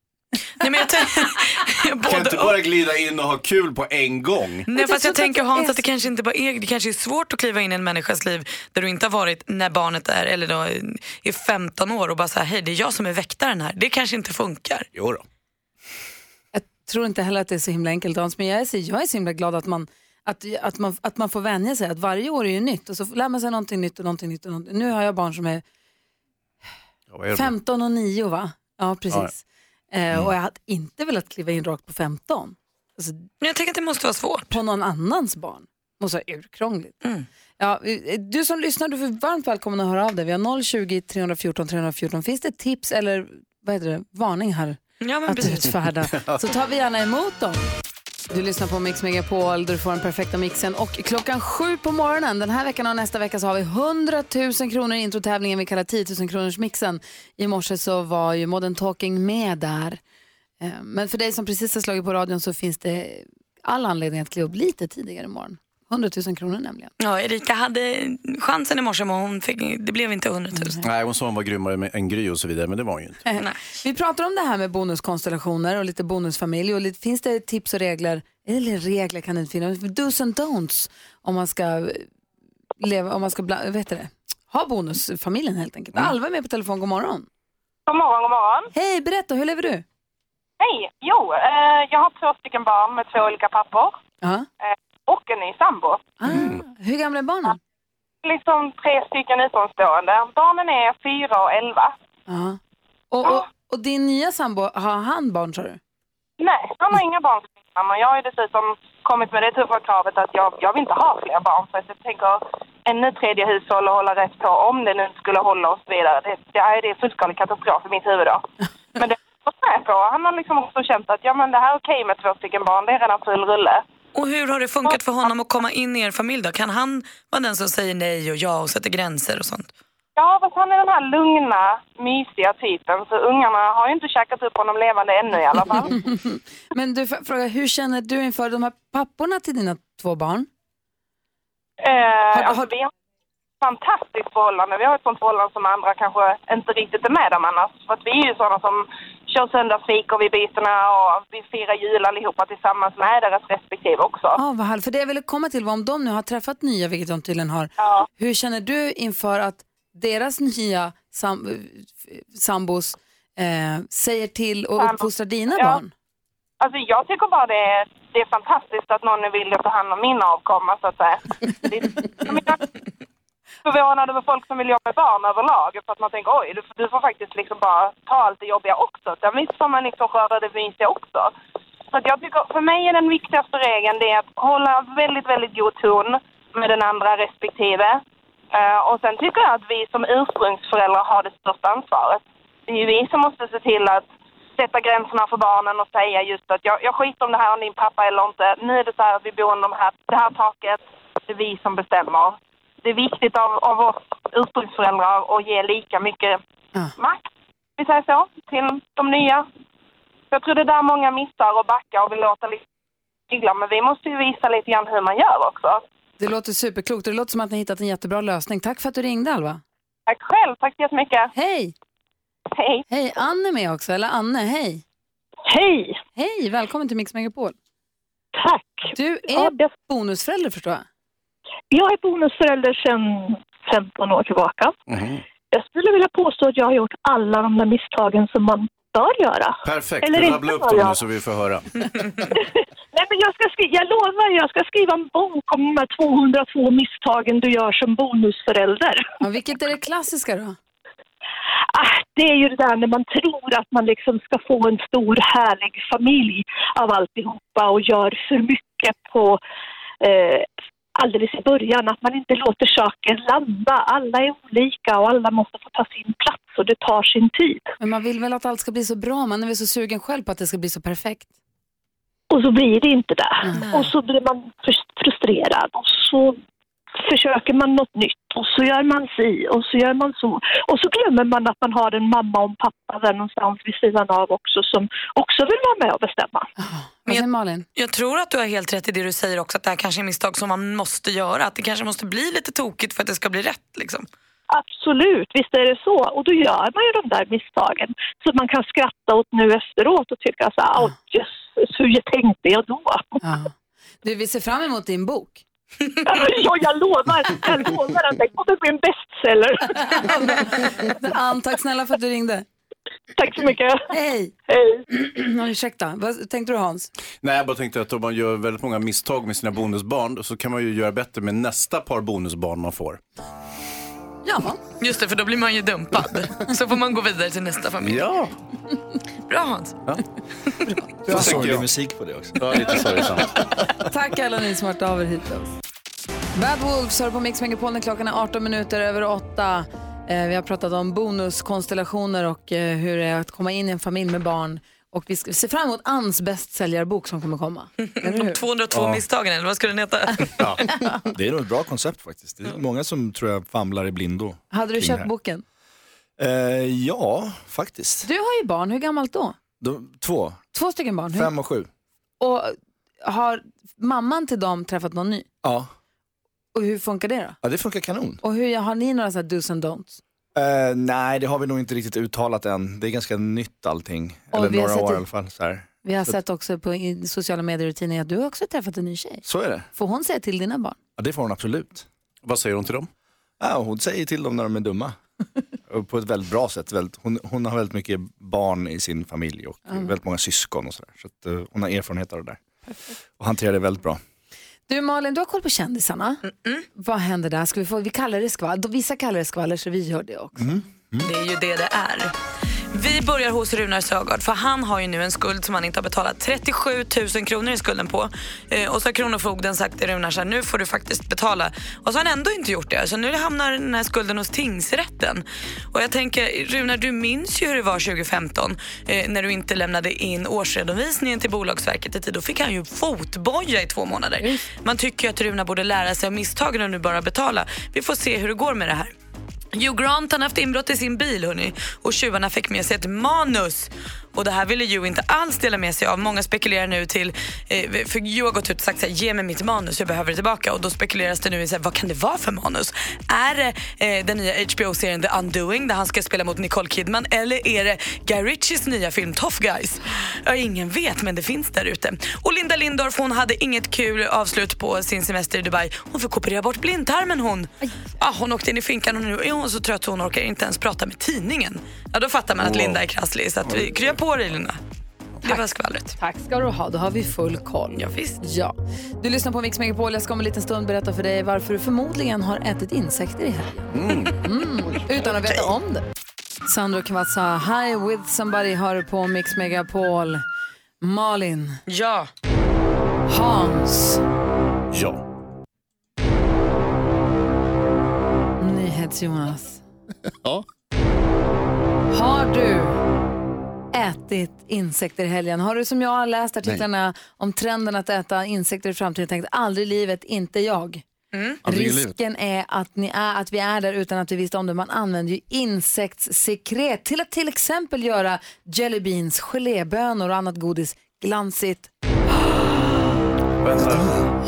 S2: Nej, men jag tänker-
S3: Kan inte
S2: och.
S3: bara glida in och ha kul på en gång.
S2: Nej,
S1: Alltså,
S2: fast jag tänker Hans att det kanske inte bara är, det kanske är svårt att kliva in i en människas liv där du inte har varit när barnet är, eller då, är 15 år och bara säga hej det är jag som är väktaren här. Det kanske inte funkar.
S3: Jo då.
S1: tror inte heller att det är så himla enkelt Hans, men jag är så, jag är så himla glad att man, att, att, man, att man får vänja sig, att varje år är ju nytt och så lär man sig någonting nytt och någonting nytt. Och någonting. Nu har jag barn som är
S3: Ja, vad är det?
S1: 15 och 9 va? Ja, precis. Eh,
S3: Mm.
S1: och jag hade inte velat kliva in rakt på 15. Alltså,
S2: Men jag tänker att det måste vara svårt.
S1: På någon annans barn. Måste vara urkrångligt.
S2: Mm.
S1: Ja, eh, du som lyssnar, du är varmt välkommen att höra av dig. Vi har 020 314 314. Finns det tips eller vad heter det, varning här?
S2: Ja, men
S1: att
S2: precis.
S1: utfärda. Så tar vi gärna emot dem. Du lyssnar på Mix Megapol där du får den perfekta mixen. Och klockan sju på morgonen den här veckan och nästa vecka så har vi 100 000 kronor i introtävlingen vi kallar 10 000 kronors mixen. I morse så var ju Modern Talking med där. Eh, Men för dig som precis har slagit på radion så finns det all anledning att kliva upp lite tidigare imorgon. 100 000 kronor nämligen.
S2: Ja, Erika hade chansen i morse men hon fick, det blev inte 100 000.
S3: Nej, hon sa hon var grymmare med- än Gry och så vidare, men det var hon ju inte.
S1: Eh, Vi pratar om det här med bonuskonstellationer och lite bonusfamilj. Och lite, finns det tips och regler, eller regler kan det inte finnas, men do's and don'ts om man ska eh, leva, om man ska, bla, vad heter det? ha bonusfamiljen helt enkelt. Alva är med på telefon, god morgon.
S17: God morgon, god morgon.
S1: Hej, berätta, hur lever du?
S17: Hej! Jo, eh, jag har två stycken barn med två olika pappor
S1: Ja.
S17: eh, och en ny sambo.
S1: Ah, Hur gamla är barnen?
S17: Liksom tre stycken utomstående. Barnen är fyra och elva.
S1: Ja. Och, och, och din nya sambo, har han barn sa du?
S17: Nej, han har inga barn tillsammans. Jag har ju dessutom kommit med det tuffa kravet att jag, jag vill inte ha fler barn. Så att jag typ tänker ännu tredje hushåll och hålla rätt på om det nu skulle hålla och så vidare. Det, det, är, det är fullskalig katastrof i mitt huvud då. Men det har han gått med på. Han har liksom också känt att ja, men det här är okej med två stycken barn. Det är redan full rulle.
S2: Och hur har det funkat för honom att komma in i er familj då? Kan han vara den som säger nej och ja och sätter gränser och sånt?
S17: Ja, fast han är den här lugna, mysiga typen. Så ungarna har ju inte käkat upp honom levande ännu i alla fall.
S1: *laughs* Men du, får jag fråga, hur känner du inför de här papporna till dina två barn?
S17: Eh, alltså, vi har ett fantastiskt förhållande. Vi har ett sånt förhållande som andra kanske inte riktigt är med om annars. För att vi är ju sådana som kör söndagsfik och vi byterna och vi firar jul allihopa tillsammans med deras respektive också.
S1: Ja, vad härligt. För det jag ville komma till var om de nu har träffat nya, vilket de tydligen har. Hur känner du inför att deras nya sam- sambos eh, säger till och
S17: Sambo.
S1: uppfostrar dina
S17: Ja.
S1: barn?
S17: Alltså jag tycker bara det är, det är fantastiskt att någon är villig att ta hand om min avkomma så att säga. Det är, jag menar, förvånad över folk som vill jobba med barn överlag för att man tänker oj, du, får- du får faktiskt liksom bara ta allt det jobbiga också. Sen visst får man liksom skörda det mysiga också. Så att jag tycker, för mig är den viktigaste regeln det är att hålla väldigt, väldigt god ton med den andra respektive. Eh, och sen tycker jag att vi som ursprungsföräldrar har det största ansvaret. Det är ju vi som måste se till att sätta gränserna för barnen och säga just att jag, jag skiter om det här om din pappa eller inte. Nu är det så här att vi bor under de här, det här taket. Det är vi som bestämmer. Det är viktigt av, av oss ursprungsföräldrar att ge lika mycket makt, vi säger så, till de nya. Jag tror det är där många missar och backar och vill låta lite tygla. Men vi måste ju visa lite grann hur man gör också.
S1: Det låter superklokt och det låter som att ni har hittat en jättebra lösning. Tack för att du ringde Alva.
S17: Tack själv, tack så jättemycket.
S1: Hej!
S17: Hej!
S1: Hej, Anne är med också, eller Anne, hej!
S18: Hej!
S1: Hej, välkommen till Mix Megapol.
S18: Tack!
S1: Du är bonusförälder förstår jag.
S18: Jag är bonusförälder sedan 15 år tillbaka. Jag skulle vilja påstå att jag har gjort alla de där misstagen som man bör göra.
S3: Perfekt,
S18: Eller inte
S3: rabbla upp
S18: bör
S3: dem
S18: göra.
S3: nu så vi får höra.
S18: Nej, men jag, ska skri- jag lovar, jag ska skriva en bok om de här 202 misstagen du gör som bonusförälder.
S1: Ja, vilket är det klassiska då?
S18: Ah, det är ju det där när man tror att man liksom ska få en stor härlig familj av alltihopa och gör för mycket på eh, alldeles i början. Att man inte låter saker landa. Alla är olika och alla måste få ta sin plats och det tar sin tid.
S1: Men man vill väl att allt ska bli så bra, man är väl så sugen själv på att det ska bli så perfekt.
S18: Och så blir det inte det. Och så blir man frus- frustrerad och så försöker man något nytt och så gör man si och så gör man så. Och så glömmer man att man har en mamma och en pappa där någonstans vid sidan av också som också vill vara med och bestämma.
S1: Vad säger Malin?
S2: Jag tror att du har helt rätt i det du säger också, att det här kanske är misstag som man måste göra. Att det kanske måste bli lite tokigt för att det ska bli rätt. Liksom.
S18: Absolut, visst är det så. Och då gör man ju de där misstagen som man kan skratta åt nu efteråt och tycka så här, "Åh, jösses, hur tänkte jag då?
S1: Du, vi ser fram emot din bok.
S18: *laughs* ja, jag lovar, jag lovar att den kommer bli en
S1: *laughs*
S18: bestseller.
S1: Ann, tack snälla för att du ringde.
S18: Tack så mycket.
S1: Hej. *clears throat*
S18: Hej.
S1: Ursäkta, vad tänkte du Hans?
S3: Nej, jag bara tänkte att om man gör väldigt många misstag med sina bonusbarn så kan man ju göra bättre med nästa par bonusbarn man får.
S1: Ja.
S2: Just det, för då blir man ju dumpad. Så får man gå vidare till nästa familj.
S3: Ja.
S2: Bra Hans.
S12: Bra sorglig musik på det också.
S3: Ja, lite sorgsamt.
S1: *laughs* Tack alla ni som har hört av er hit till oss. Bad Wolves hör på Mix Megapol när klockan är 18 minuter över 8. Eh, vi har pratat om bonuskonstellationer och eh, hur det är att komma in i en familj med barn. Och vi ska- ser fram emot Anns bästsäljarbok som kommer komma. *laughs*
S2: De 202
S19: Ja.
S2: misstagen, eller vad skulle den heta?
S19: Det är nog ett bra koncept faktiskt. Det är många som tror jag famlar i blindo.
S1: Hade
S19: kring
S1: du
S19: det
S1: köpt
S19: här.
S1: boken?
S19: Eh, ja, faktiskt.
S1: Du har ju barn, hur gammalt då?
S19: De, två.
S1: Två stycken barn. Hur?
S19: Fem och sju.
S1: Och har mamman till dem träffat någon ny?
S19: Ja.
S1: Och hur funkar det då?
S19: ja, det funkar kanon.
S1: Och hur har ni några så här do's and don'ts?
S19: Eh, nej, det har vi nog inte riktigt uttalat än. Det är ganska nytt allting.
S1: Och
S19: Eller
S1: vi har
S19: några
S1: sett
S19: år
S1: det-
S19: i alla fall. Så, här.
S1: Vi har
S19: så,
S1: sett också på i sociala medier och tidningar att du har också träffat en ny tjej.
S19: så är det.
S1: Får hon säga till dina barn?
S19: Ja, det får hon absolut. Vad säger hon till dem? Ja, hon säger till dem när de är *laughs* dumma. Och på ett väldigt bra sätt. Väldigt, hon, hon har väldigt mycket barn i sin familj och
S1: Mm.
S19: väldigt många syskon och sådär. Så att, eh, hon har erfarenhet av det där. Och hanterar det väldigt bra.
S1: Du Malin, du har koll på kändisarna. Vad händer där? Ska vi, få, vi kallar det skvaller. Vissa kallar det skvaller så vi gör det också.
S19: Mm.
S2: Det är ju det det är. Vi börjar hos Runar Sögaard för han har ju nu en skuld som han inte har betalat. 37 000 kronor är skulden på. Eh, och så har Kronofogden sagt till Runar så här, nu får du faktiskt betala. Och så har han ändå inte gjort det. Så nu hamnar den här skulden hos tingsrätten. Och jag tänker, Runar du minns ju hur det var 2015 eh, när du inte lämnade in årsredovisningen till Bolagsverket i tid. Då fick han ju fotboja i två månader. Man tycker ju att Runar borde lära sig av misstagen och nu bara betala. Vi får se hur det går med det här. Hugh Grant han har haft inbrott i sin bil hörni, och tjuvarna fick med sig ett manus. Och Det här ville Hugh inte alls dela med sig av. Många spekulerar nu till, eh, för Hugh har gått ut och sagt så här, ge mig mitt manus, jag behöver det tillbaka. Och Då spekuleras det nu i så här, vad kan det vara för manus? Är det eh, den nya HBO-serien The Undoing där han ska spela mot Nicole Kidman eller är det Guy Ritchies nya film Tough Guys? Ja, ingen vet men det finns där ute. Och Linda Lindorff hon hade inget kul avslut på sin semester i Dubai. Hon fick operera bort blindtarmen hon. Ja, hon åkte in i finkan och nu är hon så trött så hon orkar inte ens prata med tidningen. Ja, då fattar man att
S1: Wow.
S2: Linda är krasslig så att vi krya på dig Linda. Det var skvallret.
S1: Tack ska du ha, då har vi full koll. Ja,
S2: visst.
S1: Ja. Du lyssnar på Mix Megapol, jag ska om en liten stund berätta för dig varför du förmodligen har ätit insekter i helgen. Mm. Utan att veta om det. Sandro Cavazza, Hi with somebody hör du på Mix Megapol. Malin.
S2: Ja.
S1: Hans.
S3: Ja.
S1: NyhetsJonas.
S8: Ja.
S1: Har du ätit insekter i helgen? Har du som jag läst artiklarna om trenden att äta insekter i framtiden tänkt aldrig i livet, inte jag?
S20: Aldrig i livet.
S1: Risken är att, ni är att vi är där utan att vi visste om det. Man använder ju insektssekret till att till exempel göra jelly beans, gelébönor och annat godis glansigt.
S3: Vänta.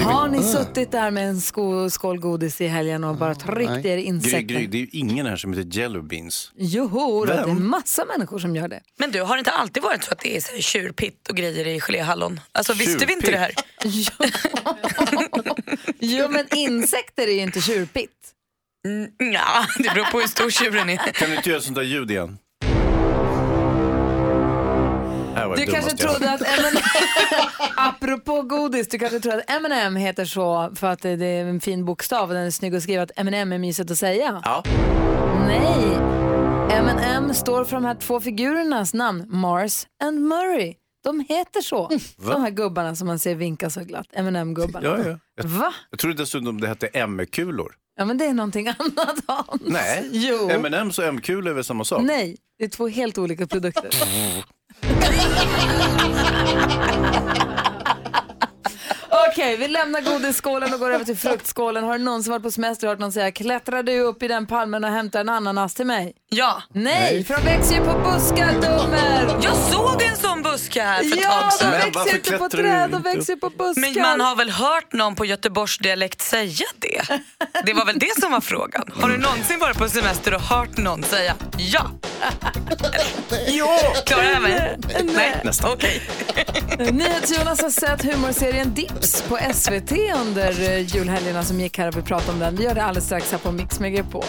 S1: Har
S3: Ah.
S1: ni suttit där med en sko- skål godis i helgen och bara tryckt er
S3: Gry,
S1: insekter?
S3: Gry, det är ju ingen här som heter Jello Beans.
S1: Joho, det är
S3: Vem?
S1: massa människor
S3: *laughs*
S1: som gör det.
S2: Men du, har det inte alltid varit så att det är så här tjurpitt och grejer i geléhallon? Alltså visste vi inte det här?
S1: Jo, men insekter är ju inte tjurpitt.
S2: Ja, det beror på hur stor tjuren är.
S3: Kan du inte göra sånt där ljud igen? Här var det
S1: Du kanske
S3: dummaste jag
S1: trodde
S3: hört.
S1: att M&M,
S3: *laughs*
S1: apropå godis, du kanske trodde att M&M heter så för att det det är en fin bokstav och den är snygg att skriva, att M&M är mysigt att säga.
S3: Ja.
S1: Nej, M&M står för de här två figurernas namn, Mars and Murray. De heter så,
S3: Mm. Va?
S1: de här gubbarna som man ser vinka så glatt, M&M gubbarna
S3: Ja, ja.
S1: Jag, Va?
S3: jag trodde dessutom det hette M-kulor.
S1: Ja, men det är någonting annat Hans.
S3: Nej,
S1: *laughs* Jo.
S3: M&M's och M-kulor är väl samma sak? Mm.
S1: Nej, det är två helt
S3: *laughs*
S1: olika produkter. Okej, vi lämnar godisskålen och går över till fruktskålen. Har du någonsin varit på semester och hört någon säga klättrar du upp i den palmen och hämtar en ananas till mig?
S2: Ja.
S1: Nej,
S2: Nej.
S1: för de växer ju på buskar, dummer.
S2: Jag såg en sån buske här för ett
S1: Ja,
S2: tag sedan.
S1: de växer ju inte på träd, de växer ju på buskar.
S2: Men man har väl hört någon på Göteborgsdialekt säga det?
S1: *laughs*
S2: Det var väl det som var frågan. Har du någonsin varit på semester och hört någon säga ja?
S1: Jo!
S2: Klarar jag mig? Nej, okej.
S1: NyhetsJonas har sett humorserien Dips på SVT under eh, julhelgerna som gick här och vi pratade om den. Vi gör det alldeles strax här på Mix Megapol.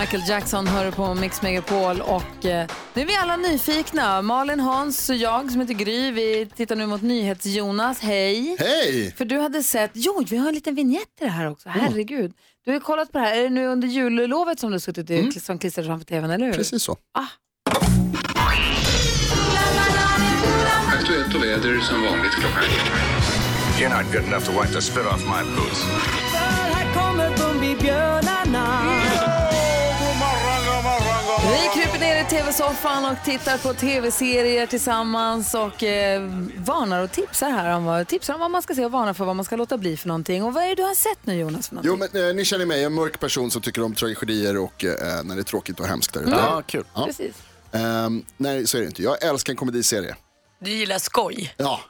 S1: Michael Jackson hör på Mix Megapol och eh, nu är vi alla nyfikna. Malin, Hans och jag som heter Gry, vi tittar nu mot NyhetsJonas. Hej!
S8: Hej!
S1: För du hade sett, jo vi har en liten vignett i det här också,
S8: Mm.
S1: herregud. Du har ju kollat på det här, är det nu under jullovet som du har suttit i- som klistrad framför tvn, eller hur?
S8: Mm.
S1: Ah,
S8: Precis så.
S21: Aktuellt och väder som vanligt klockan You're not good enough to wipe the spit off my boots.
S20: Här kommer Bumbibjörnarna.
S1: Vi kryper ner i tv soffan och tittar på tv-serier tillsammans och eh, varnar och tipsar här om vad, tipsar om vad man ska se och varnar för vad man ska låta bli för någonting. Och vad är det du har sett nu Jonas? För någonting?
S8: Jo, men eh, ni känner mig, jag är en mörk person som tycker om tragedier och eh, när det är tråkigt och hemskt där ute.
S1: Mm.
S8: kul.
S1: Precis.
S8: nej, så är det inte. Jag älskar en komediserie.
S2: Du gillar skoj.
S8: Ja,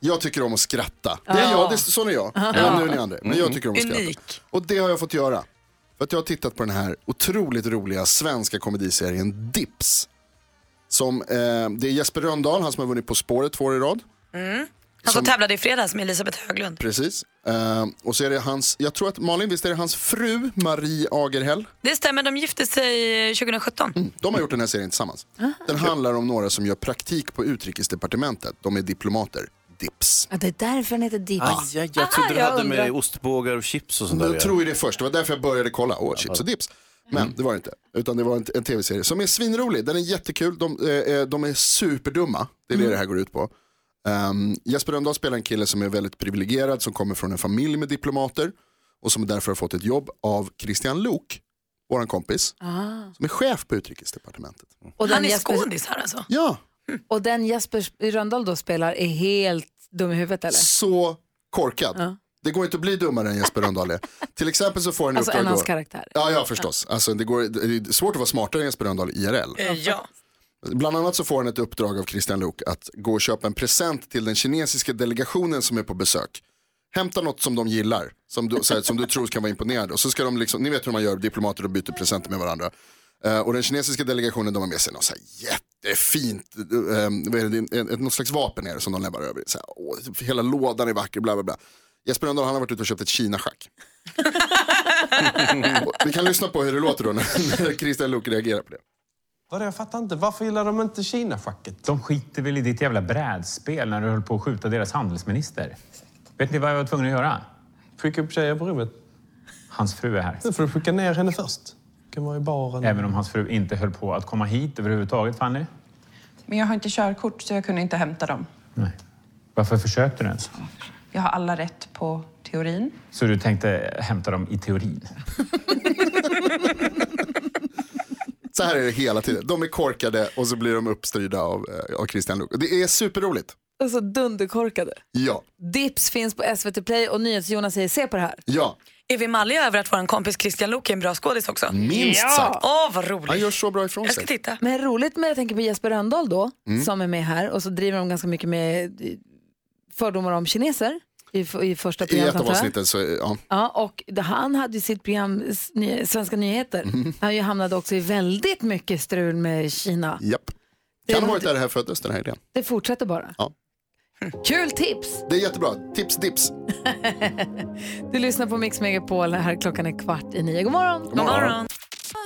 S8: jag tycker om att skratta. Det
S2: Ja.
S8: är jag, det är, sån är jag.
S2: Ja. Mm.
S8: Ja. Mm. Nu är ni andra. Men jag tycker om att skratta.
S2: Unik.
S8: Och det har jag fått göra. För att jag har tittat på den här otroligt roliga svenska komediserien Dips. Som, eh, det är Jesper Rönndahl, han som har vunnit På spåret två år i rad.
S2: Mm. Han som
S8: Som-
S2: tävlade i fredags med Elisabeth Höglund.
S8: Precis. Eh, och så är det hans, jag tror att Malin, visst är det hans fru Marie Agerhäll? Mm,
S2: Det stämmer, de gifte sig 2017.
S8: De har gjort den här serien tillsammans. Den handlar om några som gör praktik på utrikesdepartementet. De är diplomater. Dips.
S1: Ja, det är därför den heter Dips.
S3: Aj, aj, jag trodde
S1: Ah,
S3: du hade
S1: undrar.
S3: med ostbågar och chips och sånt där.
S8: Jag tror ju det först, det var därför jag började kolla. Åh, chips och dips.
S3: Mm.
S8: Men det var det inte, utan det var en, en tv-serie som är svinrolig. Den är jättekul, de, eh, eh, de är superdumma. Det är
S3: Mm.
S8: det det här går ut på. Ehm, Jesper Rönndahl spelar en kille som är väldigt privilegierad, som kommer från en familj med diplomater och som därför har fått ett jobb av Christian Lok, vår kompis,
S1: Ah.
S8: som är chef på utrikesdepartementet.
S1: Och
S2: Han är
S1: Jesper- Mm.
S2: skådis här alltså.
S8: Ja,
S1: Och den Jesper Rönndahl då spelar är helt dum i huvudet eller?
S8: så korkad. Det går inte att bli dummare än Jesper Rönndahl är. Till exempel så får han i
S1: Alltså
S8: uppdrag
S1: en av hans
S8: då-
S1: karaktär.
S8: Ja, ja förstås. Alltså, det, går, det är svårt att vara smartare än Jesper Rönndahl IRL.
S2: Ja.
S8: Bland annat så får han ett uppdrag av Christian Luuk att gå och köpa en present till den kinesiska delegationen som är på besök. Hämta något som de gillar, som du, så här, som du tror kan vara imponerande. Och så ska de liksom, ni vet hur man gör, diplomater och byter presenter med varandra. Eh, och den kinesiska delegationen de har med sig något så här jättefint, eh, vad är det, det, är en- något slags vapen är det som de lämnar över. Så här, åh, hela lådan är vacker, bla bla bla. Jesper Rönndahl han har varit ute och köpt ett Kina-schack. Och Vi kan lyssna på hur det låter då när när Christian Luuk reagerar på det.
S5: Vadå, jag fattar inte. Varför gillar de inte Kina-schacket? De skiter väl i ditt jävla brädspel när du höll på att skjuta deras handelsminister. Vet ni vad jag var tvungen att göra? Skicka upp tjejer på rummet. Hans fru är här.
S22: Nu får du skicka ner henne först. Kan vara i baren.
S5: Även om hans fru inte höll på att komma hit överhuvudtaget, Fanny.
S23: Men jag har inte körkort så jag kunde inte hämta dem.
S5: Varför försökte du ens?
S23: Jag har alla rätt på teorin.
S5: Så du tänkte hämta dem i teorin?
S8: Så här är det hela tiden. De är korkade och så blir de uppstyrda av, eh, av Christian Luuk. Det är superroligt.
S1: Alltså dunderkorkade.
S8: Ja,
S1: Dips finns på SVT Play och NyhetsJonas säger se på det här.
S8: ja.
S2: Är vi malliga över att vår kompis Christian Lok är en bra skådis också?
S1: Minst Ja. sagt.
S2: Åh, vad roligt.
S8: Han gör så bra ifrån
S2: Jag ska
S8: sig.
S2: titta.
S1: Men roligt med, jag tänker på Jesper Rönndahl då,
S8: Mm.
S1: som är med här och så driver de ganska mycket med eh, fördomar om kineser i, f- i första
S8: I
S1: programmet.
S8: ett av
S1: antar jag.
S8: avsnitten så, ja.
S1: Ja, och det- han hade ju sitt program S- Ny- Svenska nyheter.
S8: Mm.
S1: Han ju hamnade också i väldigt mycket strul med Kina.
S8: Japp.
S1: Det är
S8: Kan ha varit där det här föddes, den här idén.
S1: Det fortsätter bara.
S8: Ja.
S1: Kul tips!
S8: Det är jättebra. Tips, dips.
S1: *laughs* Du lyssnar på Mix Megapol, här klockan är kvart i nio. God morgon!
S8: God morgon. God morgon.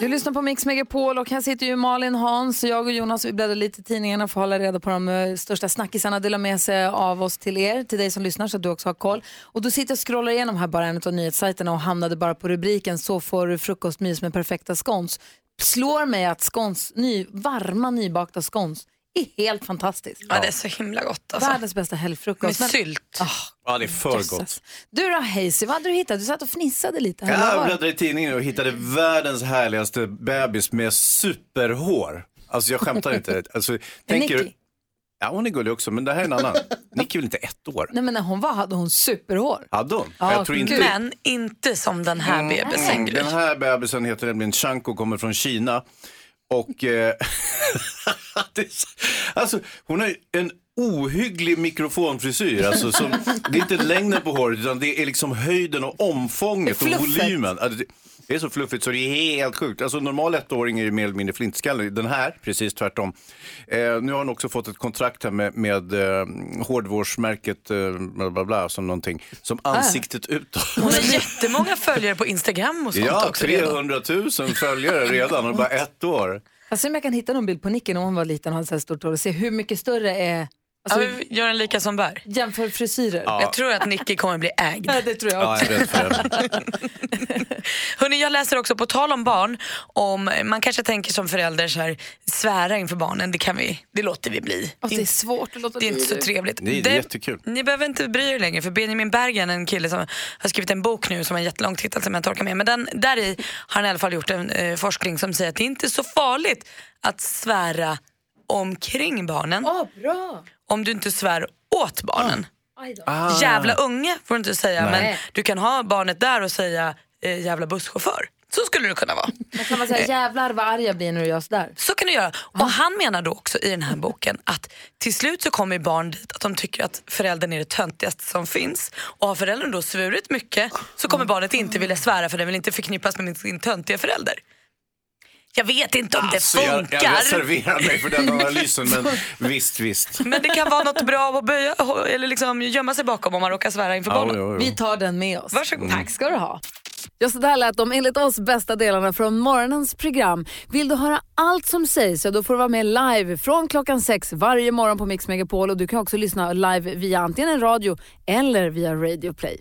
S1: Du lyssnar på Mix Megapol och här sitter ju Malin, Hans, jag och Jonas. Vi bläddrar lite i tidningarna för att hålla reda på de eh, största snackisarna. Dela med sig av oss till er, till dig som lyssnar så att du också har koll. Och då sitter jag och scrollar igenom här bara en av nyhetssajterna och hamnade bara på rubriken Så får du frukostmys med perfekta skons. Slår mig att skons, ny, varma nybakta skons är helt fantastiskt.
S2: Ja, det är så himla gott alltså.
S1: Världens bästa helgfrukost.
S2: Med
S1: Men- Ah,
S2: sylt.
S3: Ja, det är för gott.
S1: Du då Hazy, vad hade du hittat? Du satt och fnissade lite. Här. Vad
S3: Jag
S1: var det?
S3: bläddrade i tidningen och hittade världens härligaste bebis med superhår. Alltså jag skämtar
S1: *laughs*
S3: inte. Alltså,
S1: Nicky?
S3: Ja, hon är gullig också, men det här är en annan. Nicky är väl inte ett år?
S1: Nej men när hon var hade hon superhår.
S3: Hade hon?
S1: Ja,
S3: jag tror inte...
S2: Men inte som den här bebisen.
S3: Mm,
S2: Gry.
S3: Den här bebisen heter nämligen Chanko, kommer från Kina. Och eh, *laughs* det är så- alltså, hon har ju en ohygglig mikrofonfrisyr. Alltså, som, det är inte längden på håret utan det är liksom höjden och omfånget och
S24: Fluffet.
S3: volymen. Alltså, det- det är så fluffigt så det är helt sjukt. Alltså, en normal ettåring är ju mer eller mindre flintskallig. Den här, precis tvärtom. Eh, nu har hon också fått ett kontrakt här med, med eh, hårdvårdsmärket eh, bla, bla, bla, som någonting. Som
S2: Ah.
S3: ansiktet utåt.
S2: Hon har jättemånga följare på Instagram och sånt
S3: Ja,
S2: också. redan.
S3: 300 000 följare redan och bara ett år.
S1: Jag ser om jag kan hitta någon bild på Nicky när hon var liten och hade så här stort hår och se hur mycket större är Alltså,
S2: ja, vi gör en lika som bär.
S1: Jämför frisyrer.
S3: Ja.
S2: Jag tror att Nicky kommer bli ägd.
S1: Ja, det tror jag
S3: Ja, jag är rädd för det.
S2: *laughs* Hörrni, jag läser också på tal om barn, om man kanske tänker som förälder så här, svära inför barnen, det kan vi, det låter vi bli.
S1: det är svårt att låta
S2: Det är inte så
S1: bli.
S2: trevligt.
S3: Nej, det är jättekul.
S2: Ni behöver inte bry er längre för Benjamin Bergen, en kille som har skrivit en bok nu som har en jättelång titel som jag inte orkar med. Men den, där i har han i alla fall gjort en eh, forskning som säger att det är inte är så farligt att svära omkring barnen.
S1: bra.
S2: Om du inte svär åt barnen.
S1: Ah.
S2: Jävla unge får du inte säga
S1: Nej.
S2: men du kan ha barnet där och säga eh, jävla busschaufför. Så skulle det kunna vara.
S1: Men kan man säga jävlar vad arg jag blir när du gör sådär?
S2: Så kan du göra. Och han menar då också i den här boken att till slut så kommer barn dit att de tycker att föräldern är det töntigaste som finns. Och har föräldern då svurit mycket så kommer barnet inte vilja svära för den vill inte förknippas med sin töntiga förälder. Jag vet inte om
S3: Alltså,
S2: det
S3: jag,
S2: funkar.
S3: jag reserverar mig för
S2: *laughs*
S3: den analysen, men visst, visst.
S2: Men det kan vara något bra att böja, eller liksom gömma sig bakom om man råkar svära inför
S3: Ja,
S2: barnen.
S3: ja, ja.
S1: Vi tar den med oss.
S2: Varsågod.
S3: Mm.
S1: Tack ska du ha. Ja, så där lät de enligt oss bästa delarna från morgonens program. Vill du höra allt som sägs så då får du vara med live från klockan sex varje morgon på Mix Megapol och du kan också lyssna live via antingen en radio eller via Radio Play.